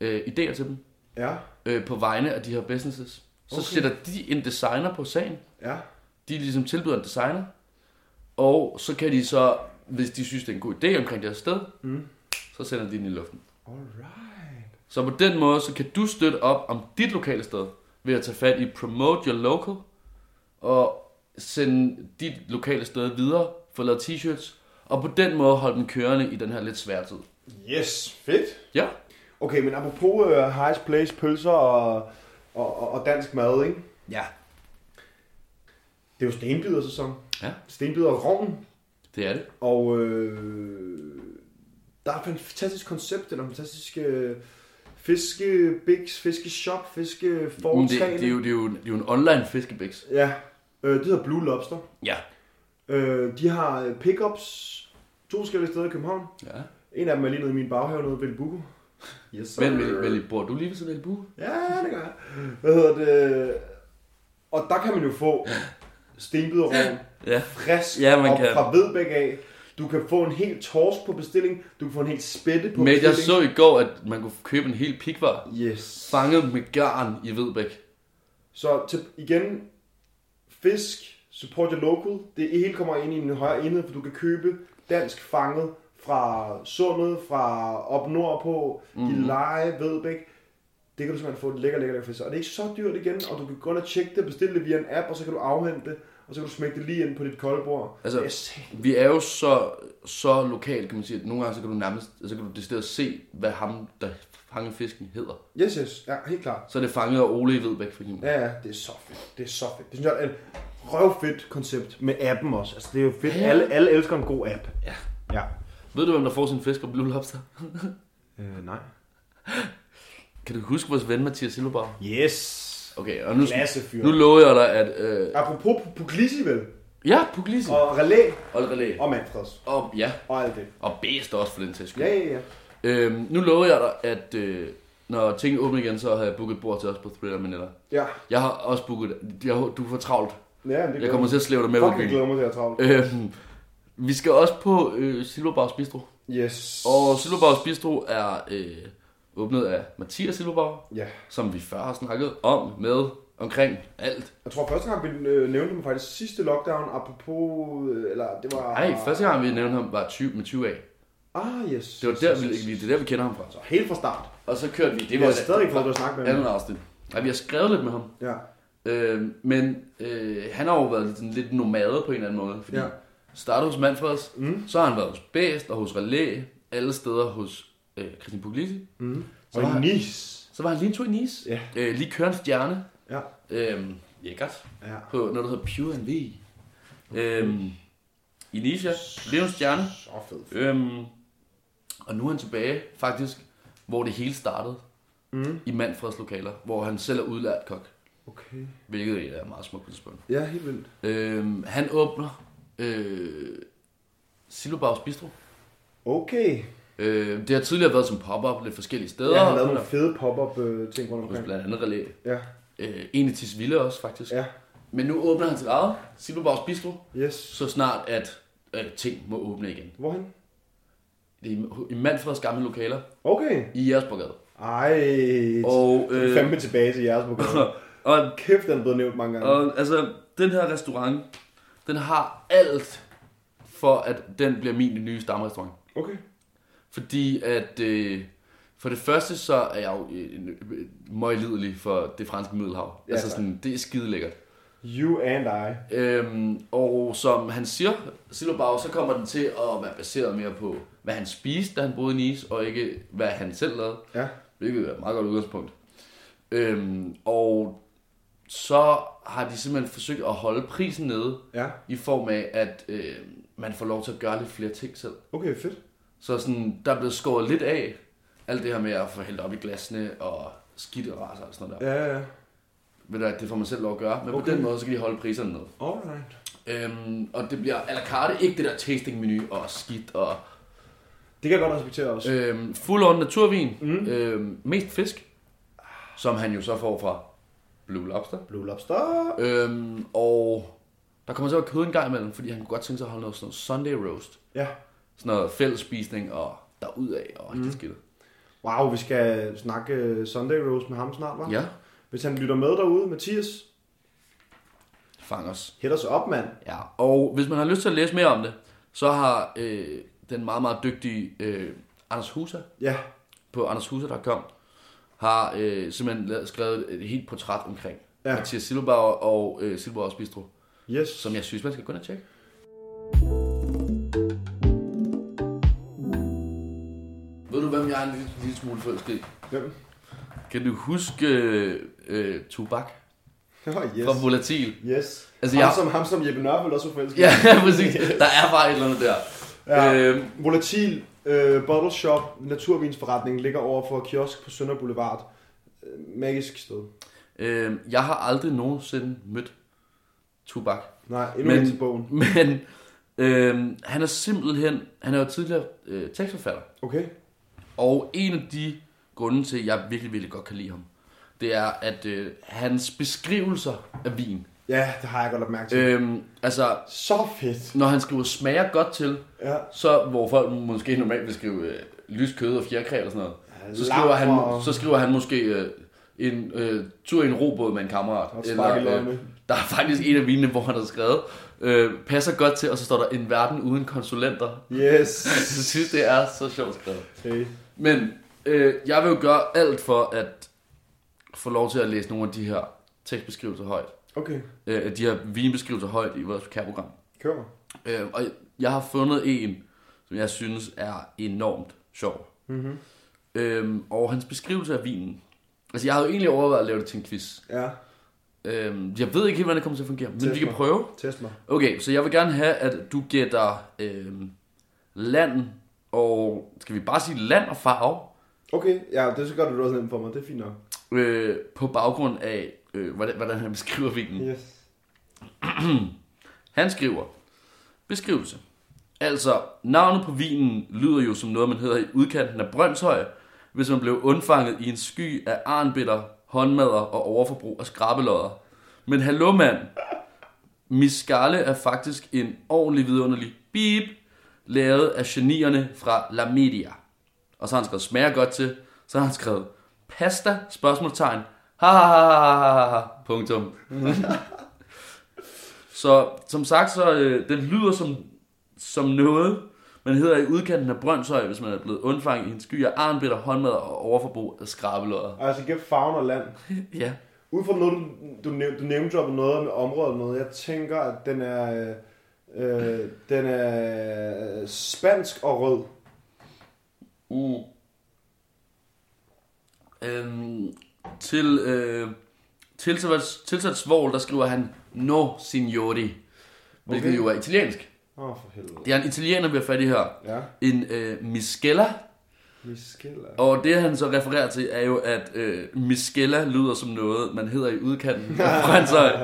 [SPEAKER 3] øh, idéer til dem
[SPEAKER 2] Ja,
[SPEAKER 3] øh, på vegne af de her businesses. Så
[SPEAKER 2] Okay.
[SPEAKER 3] okay. sætter de en designer på sagen.
[SPEAKER 2] ja.
[SPEAKER 3] De ligesom tilbyder en designer. Og så kan de så, hvis de synes, det er en god idé omkring deres sted, mm. så sender de den i luften.
[SPEAKER 2] Alright.
[SPEAKER 3] Så på den måde, så kan du støtte op om dit lokale sted ved at tage fat i Promote Your Local og sende dit lokale sted videre, få lavet t-shirts, og på den måde holde dem kørende i den her lidt svære tid.
[SPEAKER 2] Yes, fedt.
[SPEAKER 3] Ja,
[SPEAKER 2] Okay, men apropos uh, Highest Place pølser og, og, og, og dansk mad, ikke?
[SPEAKER 3] Ja.
[SPEAKER 2] Det er jo stenbidersæson.
[SPEAKER 3] Ja.
[SPEAKER 2] Stenbider og rovn.
[SPEAKER 3] det er det.
[SPEAKER 2] Og øh, der er et fantastisk koncept, der er nogle fantastiske fiskebiks, øh, fiskeshop,
[SPEAKER 3] Men
[SPEAKER 2] fiskeforetagende.
[SPEAKER 3] det, det, er jo, det, er jo, det er jo en online fiskebæks.
[SPEAKER 2] Ja, øh, det hedder Blue Lobster.
[SPEAKER 3] Ja.
[SPEAKER 2] Øh, de har øh, pickups to forskellige steder i København.
[SPEAKER 3] ja.
[SPEAKER 2] En af dem er lige nede i min baghave nede ved Buko. Yes, sir.
[SPEAKER 3] Men vel, vel, bor du lige ved sådan en bu?
[SPEAKER 2] Ja, det gør jeg. Hvad hedder det? Og der kan man jo få stenbiderrogn
[SPEAKER 3] Ja.
[SPEAKER 2] frisk
[SPEAKER 3] Ja, man
[SPEAKER 2] op
[SPEAKER 3] kan.
[SPEAKER 2] fra Vedbæk af. Du kan få en hel tors på bestilling. Du kan få en hel spætte på
[SPEAKER 3] Men jeg
[SPEAKER 2] bestilling.
[SPEAKER 3] så i går, at man kunne købe en hel pikvar
[SPEAKER 2] Yes.
[SPEAKER 3] fanget med garn i Vedbæk.
[SPEAKER 2] Så til, igen, fisk, support your local. Det hele kommer ind i en højere enhed, for du kan købe dansk fanget fra sundet, fra op nordpå, mm.
[SPEAKER 3] Mhm.
[SPEAKER 2] i Leje, Vedbæk. Det kan du simpelthen få lækker, lækker, lækker fisk. Og det er ikke så dyrt igen, og du kan gå ind og tjekke det, bestille det via en app, og så kan du afhente det, og så kan du smække det lige ind på dit koldbord.
[SPEAKER 3] Altså,
[SPEAKER 2] det er sæt-
[SPEAKER 3] Vi er jo så, så lokalt, kan man sige, at nogle gange så kan du nærmest, så kan du decideret se, hvad ham, der fanger fisken, hedder.
[SPEAKER 2] Yes, yes, ja, helt klart.
[SPEAKER 3] Så er det fanget af Ole i Vedbæk, for eksempel.
[SPEAKER 2] Ja, ja, det er så fedt. Det er så fedt. Det synes jeg er et røvfedt koncept med appen også. Altså, det er jo fedt. Alle, alle elsker en god app.
[SPEAKER 3] Ja.
[SPEAKER 2] Ja.
[SPEAKER 3] Ved du, hvem der får sin fisk på Blue Lobster?
[SPEAKER 2] Øh, nej.
[SPEAKER 3] Kan du huske vores ven, Mathias Silberbar?
[SPEAKER 2] Yes.
[SPEAKER 3] Okay, og nu,
[SPEAKER 2] Klassefyr.
[SPEAKER 3] nu lover jeg dig, at... Øh,
[SPEAKER 2] Apropos Puglisi, vel?
[SPEAKER 3] ja, Puglisi. Og,
[SPEAKER 2] Og Relæ
[SPEAKER 3] og Relæ.
[SPEAKER 2] og Manfreds.
[SPEAKER 3] Og, ja,
[SPEAKER 2] Og alt det.
[SPEAKER 3] og Bæst også, for den sags skyld.
[SPEAKER 2] Ja, ja, ja.
[SPEAKER 3] Øhm, nu lover jeg dig, at øh, når tingene åbner igen, så har jeg booket et bord til os på Thriller Manila.
[SPEAKER 2] Ja,
[SPEAKER 3] Jeg har også booket... Jeg, hå- du får travlt.
[SPEAKER 2] ja men det
[SPEAKER 3] Jeg kommer til at slæve dig med
[SPEAKER 2] Fuck,
[SPEAKER 3] på
[SPEAKER 2] jeg
[SPEAKER 3] byen.
[SPEAKER 2] glæder mig til at travle.
[SPEAKER 3] Øhm, vi skal også på øh, Silberbars Bistro.
[SPEAKER 2] Yes.
[SPEAKER 3] Og Silberbars Bistro er øh, åbnet af Mathias Silberbar,
[SPEAKER 2] Ja.
[SPEAKER 3] som vi før har snakket om, med, omkring, alt.
[SPEAKER 2] Jeg tror første gang, vi øh, nævnte dem faktisk sidste lockdown, apropos, øh, eller det var...
[SPEAKER 3] Nej, første gang vi nævnte ham var 20, med 20 af.
[SPEAKER 2] Ah, yes.
[SPEAKER 3] Det var der, vi, vi- det er der, vi kender ham fra.
[SPEAKER 2] Så helt fra start.
[SPEAKER 3] Og så kørte vi. Det
[SPEAKER 2] Vi
[SPEAKER 3] var
[SPEAKER 2] har stadig ikke fået lov til at snakke med ham.
[SPEAKER 3] Anden afsnit. Ja, vi har skrevet lidt med ham.
[SPEAKER 2] Ja.
[SPEAKER 3] Øh, men øh, han har jo været sådan lidt nomade på en eller anden måde. Fordi
[SPEAKER 2] Ja.
[SPEAKER 3] ja. startede hos Manfreds,
[SPEAKER 2] Mm.
[SPEAKER 3] mm. så har han været hos Bæst og hos Relæ, alle steder hos øh, Christian Puglisi.
[SPEAKER 2] Mm.
[SPEAKER 3] Så var, han,
[SPEAKER 2] Nice.
[SPEAKER 3] så var han lige en tur i Nice.
[SPEAKER 2] Ja.
[SPEAKER 3] Øh, lige kørt en stjerne.
[SPEAKER 2] Ja.
[SPEAKER 3] Øh, lækkert.
[SPEAKER 2] Ja.
[SPEAKER 3] På noget, der hedder Pure NV. Øh, I Nice, ja. Blev en stjerne.
[SPEAKER 2] Så fedt.
[SPEAKER 3] Øhm, og nu er han tilbage, faktisk, hvor det hele startede.
[SPEAKER 2] Mm.
[SPEAKER 3] I Manfreds lokaler, hvor han selv er udlært kok.
[SPEAKER 2] Okay.
[SPEAKER 3] Hvilket er meget smukt på det spørgsmål.
[SPEAKER 2] Ja, helt vildt.
[SPEAKER 3] Øhm, han åbner øh, Silobavs Bistro.
[SPEAKER 2] Okay.
[SPEAKER 3] Øh, det har tidligere været som pop-up lidt forskellige steder.
[SPEAKER 2] Jeg har lavet nogle fede pop-up øh, ting rundt
[SPEAKER 3] Hos
[SPEAKER 2] omkring.
[SPEAKER 3] blandt andet Relæ.
[SPEAKER 2] Ja,
[SPEAKER 3] Øh, en i Tisvilde også, faktisk.
[SPEAKER 2] ja.
[SPEAKER 3] Men nu åbner han sit eget, Silobavs Bistro,
[SPEAKER 2] Yes.
[SPEAKER 3] så snart at øh, ting må åbne igen.
[SPEAKER 2] Hvorhen?
[SPEAKER 3] Det er i- i Manfreds gamle lokaler
[SPEAKER 2] Okay.
[SPEAKER 3] i Jægersborgade.
[SPEAKER 2] Ej. Og,
[SPEAKER 3] Og,
[SPEAKER 2] øh,
[SPEAKER 3] øh,
[SPEAKER 2] fandme tilbage til jeres
[SPEAKER 3] <laughs>
[SPEAKER 2] program.
[SPEAKER 3] <laughs> og
[SPEAKER 2] Kæft, den er blevet nævnt mange gange.
[SPEAKER 3] Og altså, den her restaurant, den har alt for, at den bliver min nye stamrestaurant.
[SPEAKER 2] Okay.
[SPEAKER 3] Fordi at, øh, for det første, så er jeg jo øh, en- øh, møglidelig for det franske middelhav.
[SPEAKER 2] Ja,
[SPEAKER 3] Ja, altså
[SPEAKER 2] tak.
[SPEAKER 3] sådan, det er skide lækkert.
[SPEAKER 2] You and I.
[SPEAKER 3] Øhm, og som han siger, Silberbau, så kommer den til at være baseret mere på, hvad han spiste, da han boede i Nice, og ikke hvad han selv lavede.
[SPEAKER 2] Ja.
[SPEAKER 3] Hvilket er et meget godt udgangspunkt. Øhm, og så har de simpelthen forsøgt at holde prisen nede,
[SPEAKER 2] Ja.
[SPEAKER 3] i form af, at øh, man får lov til at gøre lidt flere ting selv.
[SPEAKER 2] Okay, fedt.
[SPEAKER 3] Så sådan, der er blevet skåret lidt af alt det her med at få hældt op i glasene og skidt og raser og sådan noget der. Ja.
[SPEAKER 2] Ja, ja, ja.
[SPEAKER 3] Ved du, hvad, det får man selv lov at gøre, men okay. på
[SPEAKER 2] Okay.
[SPEAKER 3] den måde, så kan de holde priserne ned.
[SPEAKER 2] Alright.
[SPEAKER 3] Øhm, og det bliver a la carte, ikke det der tasting-menu og skidt og...
[SPEAKER 2] Det kan jeg godt respektere også. Øh.
[SPEAKER 3] Øhm, full on naturvin,
[SPEAKER 2] Mm.
[SPEAKER 3] mm. øhm, mest fisk, som han jo så får fra Blue Lobster.
[SPEAKER 2] Blue Lobster.
[SPEAKER 3] Øhm, og der kommer så at være kød en gang imellem, fordi han kunne godt tænke sig at holde noget sådan noget Sunday roast.
[SPEAKER 2] Ja.
[SPEAKER 3] sådan noget fællesspisning og derudad og mm. det skidt.
[SPEAKER 2] Wow, vi skal snakke øh, Sunday Rose med ham snart, var?
[SPEAKER 3] Ja,
[SPEAKER 2] Hvis han lytter med derude, Mathias,
[SPEAKER 3] fang os.
[SPEAKER 2] hit os op, mand.
[SPEAKER 3] Ja. Og hvis man har lyst til at læse mere om det, så har øh, den meget, meget dygtige øh, Anders Husa
[SPEAKER 2] Ja.
[SPEAKER 3] på andershusa.com har øh, simpelthen lavet, skrevet et helt portræt omkring
[SPEAKER 2] Ja.
[SPEAKER 3] ja. Mathias Silberbauer og øh, Silberbauers Bistro,
[SPEAKER 2] Yes.
[SPEAKER 3] som jeg synes, man skal gå ind og tjekke. Ved du, hvem jeg er en lille, lille smule forelsket i?
[SPEAKER 2] Hvem? <laughs>
[SPEAKER 3] Kan du huske øh, øh, Tubak
[SPEAKER 2] Oh, yes.
[SPEAKER 3] fra Volatil?
[SPEAKER 2] Yes.
[SPEAKER 3] Altså,
[SPEAKER 2] Altså, ham,
[SPEAKER 3] jeg-
[SPEAKER 2] som, ham, som Jeppe Nørvold også var forelsket. i.
[SPEAKER 3] Ja, <laughs> præcis. Der er bare et eller andet der.
[SPEAKER 2] Ja.
[SPEAKER 3] <laughs> Ja. Øhm,
[SPEAKER 2] Volatil øh, Bottle Shop Naturvinsforretning ligger over for kiosk på Sønder Boulevard. Øh, magisk sted.
[SPEAKER 3] øhm, jeg har aldrig nogensinde mødt Tubak.
[SPEAKER 2] Nej, endnu ikke
[SPEAKER 3] Men-
[SPEAKER 2] til bogen.
[SPEAKER 3] <laughs> Men øhm, han er simpelthen... Han er jo tidligere øh, tekstforfatter.
[SPEAKER 2] Okay.
[SPEAKER 3] Og en af de grunde til, at jeg virkelig, virkelig godt kan lide ham, det er, at øh, hans beskrivelser af vin...
[SPEAKER 2] Ja, det har jeg godt lagt mærke til. Øh.
[SPEAKER 3] Øhm, altså,
[SPEAKER 2] Så fedt.
[SPEAKER 3] når han skriver smager godt til,
[SPEAKER 2] Ja.
[SPEAKER 3] så hvor folk måske normalt vil skrive øh, lyst kød og fjerkræ eller sådan noget, så skriver,
[SPEAKER 2] Lam
[SPEAKER 3] han,
[SPEAKER 2] og-
[SPEAKER 3] så skriver han måske øh, en øh, tur i en robåd med en kammerat.
[SPEAKER 2] Og sparke i
[SPEAKER 3] øh,
[SPEAKER 2] løgne.
[SPEAKER 3] der er faktisk en af vinene, hvor han har skrevet, øh, passer godt til, og så står der en verden uden konsulenter. <laughs>
[SPEAKER 2] Yes.
[SPEAKER 3] Jeg synes, det er så sjovt skrevet.
[SPEAKER 2] Okay.
[SPEAKER 3] Men øh, jeg vil jo gøre alt for at få lov til at læse nogle af de her tekstbeskrivelser højt.
[SPEAKER 2] Okay,
[SPEAKER 3] Øh, de her vinbeskrivelser højt i vores kærprogram.
[SPEAKER 2] kør mig.
[SPEAKER 3] Øh, og jeg har fundet en, som jeg synes er enormt sjov.
[SPEAKER 2] Mm-hmm.
[SPEAKER 3] Øhm, og hans beskrivelse af vinen. Altså, jeg havde jo egentlig overvejet at lave det til en quiz.
[SPEAKER 2] Ja,
[SPEAKER 3] Øhm, jeg ved ikke helt, hvordan det kommer til at fungere, men
[SPEAKER 2] Test
[SPEAKER 3] vi kan
[SPEAKER 2] mig.
[SPEAKER 3] prøve.
[SPEAKER 2] test mig.
[SPEAKER 3] Okay, så jeg vil gerne have, at du gætter øhm, land og... Skal vi bare sige land og farve?
[SPEAKER 2] Okay, ja, det er så godt, at du også nemt for mig. Det er fint nok.
[SPEAKER 3] Øh, på baggrund af, øh, hvordan, hvordan han beskriver vinen.
[SPEAKER 2] Yes.
[SPEAKER 3] Han skriver... Beskrivelse. Altså, navnet på vinen lyder jo som noget, man hedder i udkanten af Brøndshøj, hvis man blev undfanget i en sky af arnbitter, håndmadder og overforbrug af skrabelodder. Men hallo mand, Miscale er faktisk en ordentlig vidunderlig beep, lavet af genierne fra La Media. Og så har han skrevet, smager godt til, så har han skrevet, pasta, spørgsmålstegn, ha ha ha ha ha ha, ha, punktum. så som sagt, så øh, den lyder som, som noget, man hedder i udkanten af Brøndshøj, hvis man er blevet undfanget i en sky af arnbitter, håndmad og overforbrug af skrabelodder.
[SPEAKER 2] Altså, gæt farven og land.
[SPEAKER 3] Ja.
[SPEAKER 2] Ud fra noget, du, du, næv- du nævnte op noget med området og noget, jeg tænker, at den er, øh, øh, den er spansk og rød.
[SPEAKER 3] Uh. Øhm, til øh, tilsat, tilsat svogl, der skriver han No signori, hvilket
[SPEAKER 2] Okay.
[SPEAKER 3] jo er italiensk.
[SPEAKER 2] Åh, oh, for helvede.
[SPEAKER 3] Det er en italiener, vi har fat i her.
[SPEAKER 2] Ja,
[SPEAKER 3] En øh, miskella,
[SPEAKER 2] Miskella.
[SPEAKER 3] og det han så refererer til er jo, at øh, miskella lyder som noget, man hedder i udkanten af Brøndshøj,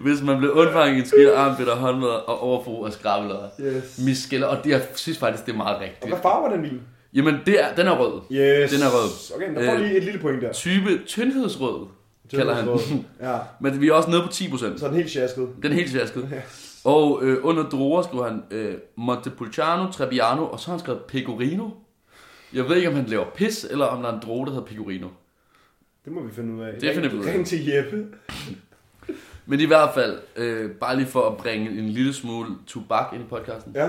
[SPEAKER 3] hvis man bliver undfanget i en skidt armbitter, håndmad og overforbrug af skrabelodder.
[SPEAKER 2] Yes.
[SPEAKER 3] Miskella, og det er, jeg synes faktisk, det er meget
[SPEAKER 2] Og
[SPEAKER 3] rigtigt.
[SPEAKER 2] hvad farve var den vin?
[SPEAKER 3] Jamen, det er, den er rød.
[SPEAKER 2] Yes.
[SPEAKER 3] Den er rød.
[SPEAKER 2] Okay, men der får
[SPEAKER 3] Øh,
[SPEAKER 2] lige et lille point der.
[SPEAKER 3] Type tyndhedsrød, kalder han den.
[SPEAKER 2] Ja,
[SPEAKER 3] <laughs> Men vi er også nede på 10%.
[SPEAKER 2] så er den helt sjasket.
[SPEAKER 3] Den er helt sjasket. Og øh, under druer skriver han øh, Montepulciano, Trebbiano, og så har han skrevet Pecorino. Jeg ved ikke, om han laver pis, eller om der er en droge, der hedder Pecorino.
[SPEAKER 2] Det må vi finde ud af.
[SPEAKER 3] Det finder vi ud af.
[SPEAKER 2] Ring til Jeppe.
[SPEAKER 3] Men i hvert fald, øh, bare lige for at bringe en lille smule tobak ind i podcasten,
[SPEAKER 2] Ja.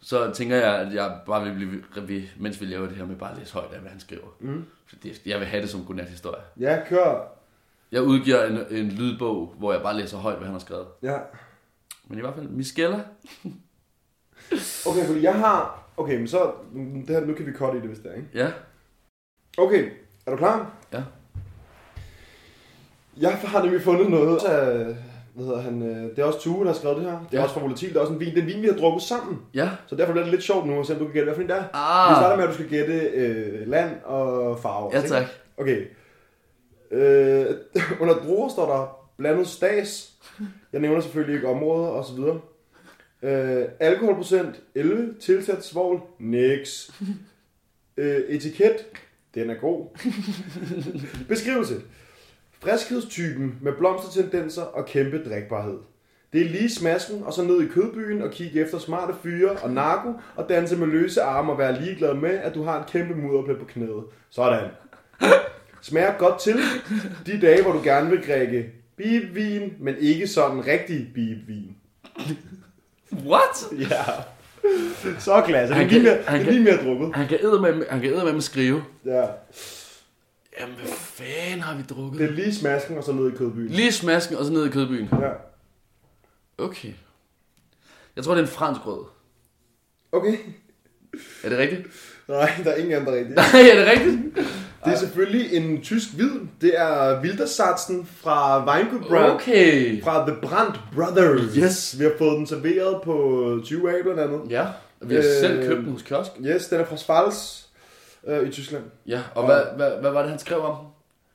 [SPEAKER 3] så tænker jeg, at jeg bare vil blive, ved, mens vi laver det her med bare at læse højt af, hvad han skriver.
[SPEAKER 2] Mm.
[SPEAKER 3] For det- Jeg vil have det som godnathistorie.
[SPEAKER 2] Ja, kør.
[SPEAKER 3] Jeg udgiver en, en lydbog, hvor jeg bare læser højt, hvad han har skrevet.
[SPEAKER 2] Ja.
[SPEAKER 3] Men i hvert fald, Miskella,
[SPEAKER 2] Okay, fordi jeg har... Okay, men så... Det her, nu kan vi cutte i det, hvis det er, ikke?
[SPEAKER 3] ja,
[SPEAKER 2] Okay, er du klar?
[SPEAKER 3] Ja.
[SPEAKER 2] Jeg har nemlig fundet noget af, hvad hedder han, øh, det er også Tue, der har skrevet det her. Det er
[SPEAKER 3] Ja.
[SPEAKER 2] ja. også fra Volatil, det er også en vin. Det er en vin, vi har drukket sammen.
[SPEAKER 3] ja.
[SPEAKER 2] Så derfor bliver det lidt sjovt nu, at se om du kan gætte, hvad for en det er.
[SPEAKER 3] Ah.
[SPEAKER 2] Vi starter med, at du skal gætte øh, land og farve.
[SPEAKER 3] Ja
[SPEAKER 2] ikke?
[SPEAKER 3] tak.
[SPEAKER 2] Okay. Øh, <laughs> under druer står der blandet stas. Jeg nævner selvfølgelig ikke områder og så videre. Øh, alkoholprocent 11, tilsat svovl, nix. Øh, etiket, den er god. <laughs> Beskrivelse. Friskhedstypen med blomstertendenser og kæmpe drikbarhed. Det er lige smasken, og så ned i kødbyen og kigge efter smarte fyre og narko, og danse med løse arme og være ligeglad med, at du har en kæmpe mudderplet på knæet. Sådan. Smager godt til de dage, hvor du gerne vil drikke bibvin, men ikke sådan rigtig bibvin.
[SPEAKER 3] What?
[SPEAKER 2] Ja. <laughs> Så klasse. Det er
[SPEAKER 3] Han
[SPEAKER 2] lige
[SPEAKER 3] kan-
[SPEAKER 2] mere,
[SPEAKER 3] han
[SPEAKER 2] det er
[SPEAKER 3] kan-
[SPEAKER 2] lige mere drukket.
[SPEAKER 3] Han kan eddermame, han kan eddermame skrive.
[SPEAKER 2] Ja.
[SPEAKER 3] Jamen, hvad fanden har vi drukket?
[SPEAKER 2] Det er lige smasken, og så ned i kødbyen.
[SPEAKER 3] Lige smasken og så ned i kødbyen.
[SPEAKER 2] Ja.
[SPEAKER 3] Okay. Jeg tror, det er en fransk rød.
[SPEAKER 2] Okay.
[SPEAKER 3] Er det rigtigt? <laughs>
[SPEAKER 2] Nej, der er ingen andre rigtige.
[SPEAKER 3] Nej, er det rigtigt?
[SPEAKER 2] Det er selvfølgelig en tysk hvid. Det er Wildersatsen fra Weingut Brand.
[SPEAKER 3] Okay.
[SPEAKER 2] Fra The Brandt Brothers.
[SPEAKER 3] Yes.
[SPEAKER 2] Vi har fået den serveret på 20 af blandt andet.
[SPEAKER 3] Ja, og vi har
[SPEAKER 2] Øh.
[SPEAKER 3] selv købt den hos kiosk.
[SPEAKER 2] Yes, den er fra Svals øh, i Tyskland.
[SPEAKER 3] Ja, og hvad, hvad, hvad var det, han skrev om?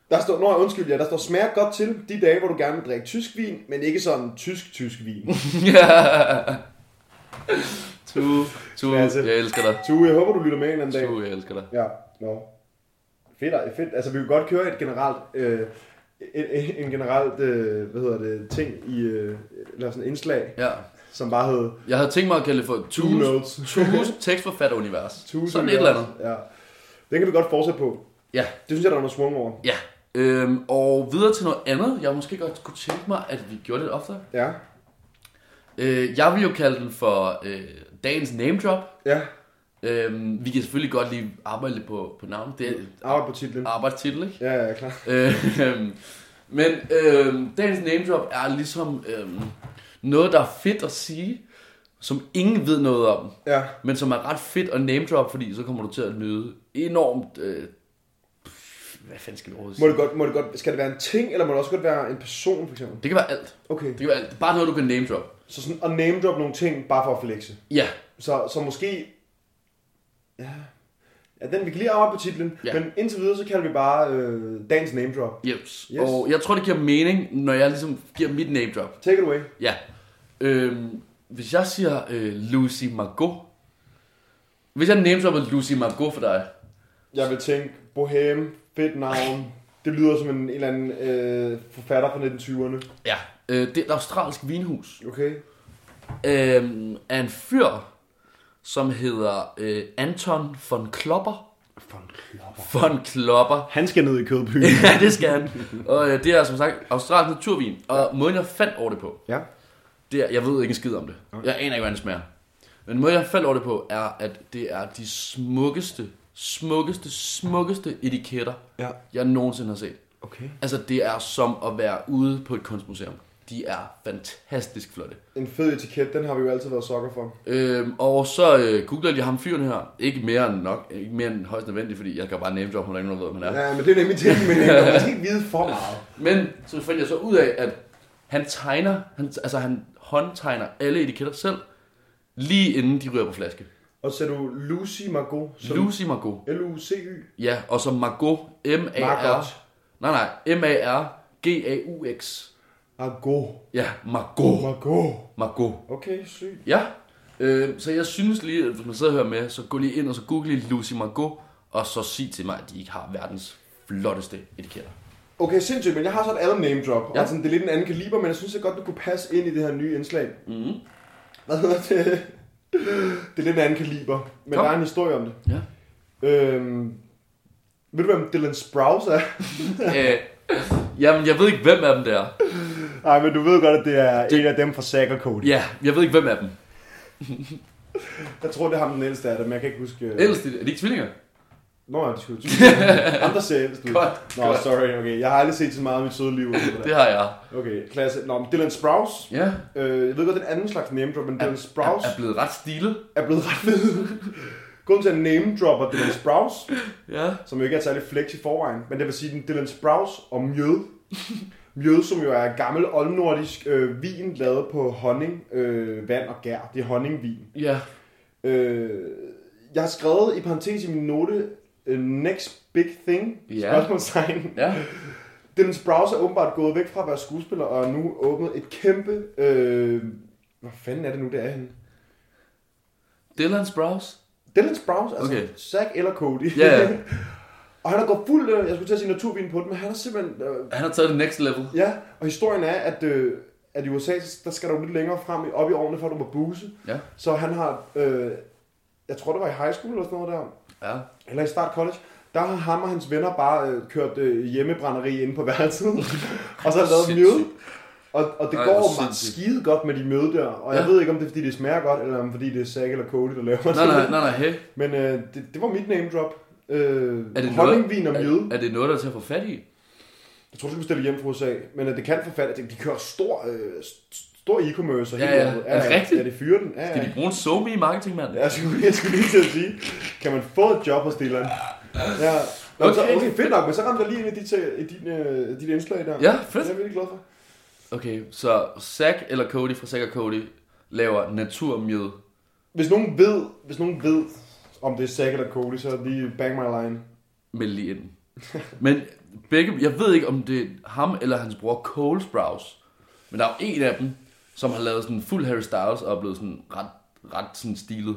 [SPEAKER 2] Der står, når jeg undskyld jer, der står smager godt til de dage, hvor du gerne vil drikke tysk vin, men ikke sådan tysk-tysk
[SPEAKER 3] <laughs>
[SPEAKER 2] vin.
[SPEAKER 3] ja. <laughs> Tu, tu,
[SPEAKER 2] Klasse.
[SPEAKER 3] jeg elsker dig.
[SPEAKER 2] Tue, jeg håber, du lytter med en eller anden dag.
[SPEAKER 3] Tu, jeg elsker dig.
[SPEAKER 2] Ja, nå. Fedt, ej, fedt. Altså, vi kan godt køre et generelt, øh, en, en en generelt, øh, hvad hedder det, ting i, øh, eller sådan en indslag,
[SPEAKER 3] Ja,
[SPEAKER 2] som bare hed
[SPEAKER 3] jeg havde tænkt mig at kalde det for
[SPEAKER 2] Two
[SPEAKER 3] Tues,
[SPEAKER 2] Notes.
[SPEAKER 3] Tues
[SPEAKER 2] <laughs>
[SPEAKER 3] tekstforfatterunivers.
[SPEAKER 2] Tue,
[SPEAKER 3] Sådan
[SPEAKER 2] Tue,
[SPEAKER 3] et eller andet.
[SPEAKER 2] Ja. Den kan vi godt fortsætte på.
[SPEAKER 3] Ja,
[SPEAKER 2] Det synes jeg, der er noget svung over.
[SPEAKER 3] ja. Øhm, og videre til noget andet, jeg måske godt kunne tænke mig, at vi gjorde lidt oftere.
[SPEAKER 2] Ja,
[SPEAKER 3] Øh, jeg vil jo kalde den for øh, dagens name drop.
[SPEAKER 2] ja.
[SPEAKER 3] Øhm, vi kan selvfølgelig godt lige arbejde lidt på, på navnet. Det Ah. er
[SPEAKER 2] Arbejde på titlen.
[SPEAKER 3] arbejdstitel, ikke?
[SPEAKER 2] Ja, ja, klar.
[SPEAKER 3] Øhm, men øhm, dagens name drop er ligesom øhm, noget, der er fedt at sige, som ingen ved noget om,
[SPEAKER 2] Ja,
[SPEAKER 3] men som er ret fedt at name drop, fordi så kommer du til at nyde enormt... Øh, pff, hvad fanden skal vi overhovedet
[SPEAKER 2] må
[SPEAKER 3] sige?
[SPEAKER 2] det godt, må det godt, skal det være en ting, eller må det også godt være en person, for eksempel?
[SPEAKER 3] Det kan være alt.
[SPEAKER 2] Okay,
[SPEAKER 3] Det kan være alt. Bare noget, du kan name drop.
[SPEAKER 2] så sådan at name drop nogle ting, bare for at flexe.
[SPEAKER 3] Ja,
[SPEAKER 2] Så, så måske... Ja. ja, den vi kan lige arbejde på titlen,
[SPEAKER 3] Ja.
[SPEAKER 2] ja. men indtil videre, så kalder vi bare øh, dagens name drop.
[SPEAKER 3] yes. yes.
[SPEAKER 2] Yes.
[SPEAKER 3] Og jeg tror, det giver mening, når jeg ligesom giver mit name drop.
[SPEAKER 2] Take it away.
[SPEAKER 3] Ja. Øhm, hvis jeg siger øh, Lucy Margot. Hvis jeg namedropper Lucy Margot for dig.
[SPEAKER 2] Jeg vil tænke, bohem, fedt navn. Det lyder som en, en eller anden øh, forfatter fra 1920'erne.
[SPEAKER 3] Ja. Øh, det er et australsk vinhus.
[SPEAKER 2] Okay.
[SPEAKER 3] Øhm, af en fyr, som hedder øh, Anton von Klopper. Von Klopper. <laughs>
[SPEAKER 2] Han skal ned i kødbyen.
[SPEAKER 3] ja, det skal han. Og øh, det er som sagt australsk naturvin. Og måden, jeg fandt over det på,
[SPEAKER 2] <laughs> ja.
[SPEAKER 3] det er, jeg ved ikke en skid om det. Jeg aner ikke, hvordan det smager. Men måden, jeg faldt over det på, er, at det er de smukkeste, smukkeste, smukkeste etiketter,
[SPEAKER 2] Ja.
[SPEAKER 3] jeg nogensinde har set.
[SPEAKER 2] Okay.
[SPEAKER 3] Altså, det er som at være ude på et kunstmuseum. De er fantastisk flotte.
[SPEAKER 2] En fed etiket, den har vi jo altid været sokker for.
[SPEAKER 3] Øhm, og så øh, googler de ham fyren her. Ikke mere end nok, ikke mere end højst nødvendigt, fordi jeg kan bare name drop, hun er ikke nogen, der ved, hvem han er.
[SPEAKER 2] Ja, men det er nemlig til, men <laughs> man skal ikke vide for meget.
[SPEAKER 3] Men så fandt jeg så ud af, at han tegner, han, altså han håndtegner alle etiketter selv, lige inden de ryger på flaske.
[SPEAKER 2] Og så er du Lucy Margot. Som
[SPEAKER 3] Lucy Margot.
[SPEAKER 2] L-U-C-Y.
[SPEAKER 3] Ja, og så Margot. M-A-R.
[SPEAKER 2] Margot.
[SPEAKER 3] Nej, nej. M-A-R-G-A-U-X.
[SPEAKER 2] Margot.
[SPEAKER 3] Ja, Margot.
[SPEAKER 2] Margot.
[SPEAKER 3] Margot.
[SPEAKER 2] Okay, sygt.
[SPEAKER 3] Ja, øh, så jeg synes lige, at hvis man sidder og hører med, så gå lige ind og så google lige Lucy Margot, og så sig til mig, at de ikke har verdens flotteste etiketter.
[SPEAKER 2] Okay, sindssygt, men jeg har så et andet name drop.
[SPEAKER 3] Ja.
[SPEAKER 2] Ja. Altså, det er lidt en anden kaliber, men jeg synes, at godt, du kunne passe ind i det her nye indslag. Mm.
[SPEAKER 3] Mm-hmm.
[SPEAKER 2] Hvad hedder det? Det er lidt en anden kaliber, men
[SPEAKER 3] Kom.
[SPEAKER 2] der er en historie om det.
[SPEAKER 3] Ja.
[SPEAKER 2] Øhm, ved du, hvem Dylan Sprouse er?
[SPEAKER 3] <laughs> øh, jamen, jeg ved ikke, hvem af dem det er.
[SPEAKER 2] <laughs> Nej, men du ved godt, at det er en af dem fra Sacker Cody.
[SPEAKER 3] Ja, jeg ved ikke, hvem af dem.
[SPEAKER 2] Jeg tror, det er ham den ældste af dem, men jeg kan ikke huske... øh,
[SPEAKER 3] Ellers, er det ikke tvillinger?
[SPEAKER 2] Nå, ja, det skulle
[SPEAKER 3] <laughs>
[SPEAKER 2] Ham, der ser ældst ud.
[SPEAKER 3] Godt,
[SPEAKER 2] Nå,
[SPEAKER 3] godt.
[SPEAKER 2] sorry, okay. Jeg har aldrig set så meget af mit søde liv.
[SPEAKER 3] <laughs> Det har jeg.
[SPEAKER 2] Okay, klasse. Nå, men Dylan Sprouse.
[SPEAKER 3] Ja.
[SPEAKER 2] Øh, jeg ved godt, den anden slags name drop, men Dylan Sprouse
[SPEAKER 3] Er, er blevet ret stilet.
[SPEAKER 2] er blevet ret fed. Grunden til, at name dropper Dylan Sprouse,
[SPEAKER 3] Ja.
[SPEAKER 2] som jo ikke er særlig flex i forvejen, men det vil sige, den Dylan Sprouse og mjød. Mjød, som jo er gammel oldnordisk øh, vin, lavet på honning, øh, vand og gær. Det er honningvin.
[SPEAKER 3] Ja.
[SPEAKER 2] Øh, jeg har skrevet i parentes i min note, øh, next big thing,
[SPEAKER 3] Ja.
[SPEAKER 2] spørgsmålstegn.
[SPEAKER 3] Ja.
[SPEAKER 2] Dylan Sprouse er åbenbart gået væk fra at være skuespiller, og har nu åbnet et kæmpe... Øh, hvad fanden er det nu, det er henne?
[SPEAKER 3] Dylan Sprouse.
[SPEAKER 2] Dylan Sprouse, altså
[SPEAKER 3] Okay.
[SPEAKER 2] okay. Zack eller Cody.
[SPEAKER 3] Ja, ja.
[SPEAKER 2] <laughs> og han har gået fuld, øh, jeg skulle til at sige naturvin på den, men han er simpelthen... Øh,
[SPEAKER 3] Han har taget det next level.
[SPEAKER 2] ja, og historien er, at, øh, at i USA, der skal du lidt længere frem i- op i årene, før du må buse.
[SPEAKER 3] Ja.
[SPEAKER 2] Så han har, øh, jeg tror det var i high school eller sådan noget der,
[SPEAKER 3] Ja.
[SPEAKER 2] eller i Start College, der har ham og hans venner bare øh, kørt øh, hjemmebrænderi inde på
[SPEAKER 3] <laughs>
[SPEAKER 2] værelset. og så har lavet
[SPEAKER 3] Sindssygt.
[SPEAKER 2] møde. Og, og det
[SPEAKER 3] Ej,
[SPEAKER 2] Ej,
[SPEAKER 3] hvor
[SPEAKER 2] går meget
[SPEAKER 3] sindssygt.
[SPEAKER 2] skide godt med de møde der. Og ja.
[SPEAKER 3] Ja.
[SPEAKER 2] jeg ved ikke, om det er, fordi det smager godt, eller om fordi det er Zack eller Cody, der laver
[SPEAKER 3] Nej,
[SPEAKER 2] det.
[SPEAKER 3] nej, nej, nej, hey.
[SPEAKER 2] Men øh, det, det var mit name drop. Øh,
[SPEAKER 3] Er det
[SPEAKER 2] honningvin og
[SPEAKER 3] noget,
[SPEAKER 2] mjøde.
[SPEAKER 3] er, er det noget, der er til at få fat i?
[SPEAKER 2] Jeg tror, du skal bestille hjem fra USA. Men øh, det kan forfatte. De, de kører stor, øh, st- stor e-commerce. og
[SPEAKER 3] Ja,
[SPEAKER 2] hele
[SPEAKER 3] ja.
[SPEAKER 2] lortet.
[SPEAKER 3] Er det rigtigt?
[SPEAKER 2] Ja, det fyrer den. Ja, ja.
[SPEAKER 3] Skal de bruge en somi i marketingmand?
[SPEAKER 2] Ja, jeg skulle, jeg skulle lige til at sige, kan man få et job hos Dylan? Ja. Nå, okay. Så,
[SPEAKER 3] Okay.
[SPEAKER 2] okay, fedt nok, men så ramte jeg lige ind i dit, i din, øh, dit indslag der.
[SPEAKER 3] Ja,
[SPEAKER 2] Det er
[SPEAKER 3] fedt.
[SPEAKER 2] jeg virkelig glad for.
[SPEAKER 3] Okay, så Zack eller Cody fra Zack og Cody laver naturmjød.
[SPEAKER 2] Hvis nogen ved, hvis nogen ved om det er Zack eller Cody, så lige bang my line.
[SPEAKER 3] Meld lige <laughs> ind. Men begge, jeg ved ikke, om det er ham eller hans bror Cole Sprouse. Men der er jo en af dem, som har lavet sådan fuld Harry Styles og er blevet sådan ret, ret sådan stilet.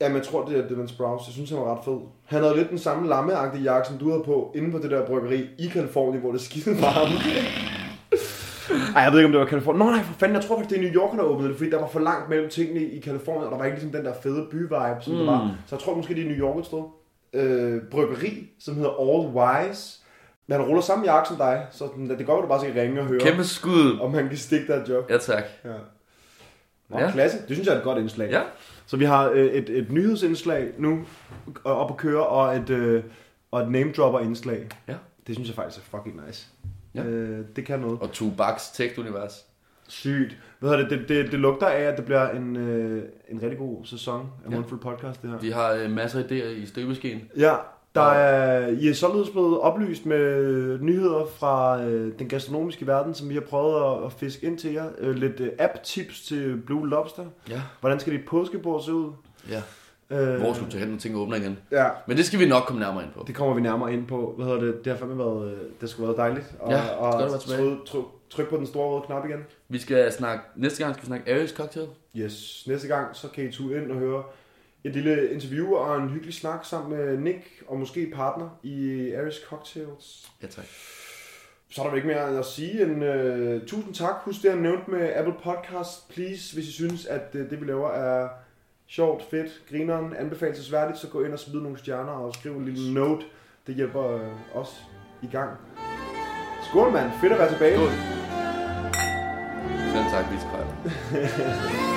[SPEAKER 2] Jamen, jeg tror, det er Dylan Sprouse. Jeg synes, han var ret fed. Han havde lidt den samme lammeagtige jakke, som du havde på, inde på det der bryggeri i Kalifornien, hvor det skide varmt. Ej, jeg ved ikke, om det var Kalifornien. Nå nej, for fanden, jeg tror faktisk, det er New York, der åbnede det, fordi der var for langt mellem tingene i Kalifornien, og der var ikke ligesom den der fede byvibe, som mm. der var. Så jeg tror måske, det er New York et sted. Øh, bryggeri, som hedder All Wise, Men han ruller samme jakke som dig, så den- det går, at du bare skal ringe og høre,
[SPEAKER 3] Kæmpe skud.
[SPEAKER 2] om han kan stikke dig et job.
[SPEAKER 3] Ja, tak.
[SPEAKER 2] Ja. Nå,
[SPEAKER 3] Ja.
[SPEAKER 2] ja. klasse. Det synes jeg er et godt indslag.
[SPEAKER 3] Ja.
[SPEAKER 2] Så vi har øh, et, et nyhedsindslag nu og op at køre, og et, øh, og et name-dropper-indslag.
[SPEAKER 3] Ja.
[SPEAKER 2] Det synes jeg faktisk er fucking nice.
[SPEAKER 3] Ja.
[SPEAKER 2] Øh, det kan noget.
[SPEAKER 3] Og Tubaks tekstunivers.
[SPEAKER 2] Sygt. Hvad hedder det? Det, det, det lugter af, at det bliver en, øh, en rigtig god sæson af
[SPEAKER 3] Ja.
[SPEAKER 2] ja. Mundfuld Podcast, det her.
[SPEAKER 3] Vi har øh, masser af idéer i støbeskeen.
[SPEAKER 2] Ja, der er, I er således blevet oplyst med nyheder fra øh, den gastronomiske verden, som vi har prøvet at, at fiske ind til jer. Øh, lidt øh, app-tips til Blue Lobster.
[SPEAKER 3] Ja.
[SPEAKER 2] Hvordan skal dit påskebord se ud?
[SPEAKER 3] Ja.
[SPEAKER 2] Øh,
[SPEAKER 3] Hvor skulle du tage hen, når ting åbner igen?
[SPEAKER 2] Ja,
[SPEAKER 3] Men det skal vi nok komme nærmere ind på.
[SPEAKER 2] det kommer vi nærmere ind på. Hvad hedder det? Det har fandme været, øh, det har sgu været dejligt. Og,
[SPEAKER 3] Ja, det skal det være tilbage.
[SPEAKER 2] tryk, tryk, tryk på den store røde knap igen.
[SPEAKER 3] Vi skal snakke, næste gang skal vi snakke Aries Cocktail.
[SPEAKER 2] Yes, næste gang så kan I tune ind og høre et lille interview og en hyggelig snak sammen med Nick og måske partner i Aris Cocktails.
[SPEAKER 3] Ja, tak.
[SPEAKER 2] Så er der vel ikke mere end at sige end uh, tusind tak. Husk det, jeg nævnte med Apple Podcast. Please, hvis I synes, at uh, det, vi laver, er sjovt, fedt, grineren, anbefalesværdigt, så gå ind og smid nogle stjerner og skriv en lille note. Det hjælper uh, os i gang. Skål, mand. Fedt at være tilbage.
[SPEAKER 3] Skål. Selv tak, vi skal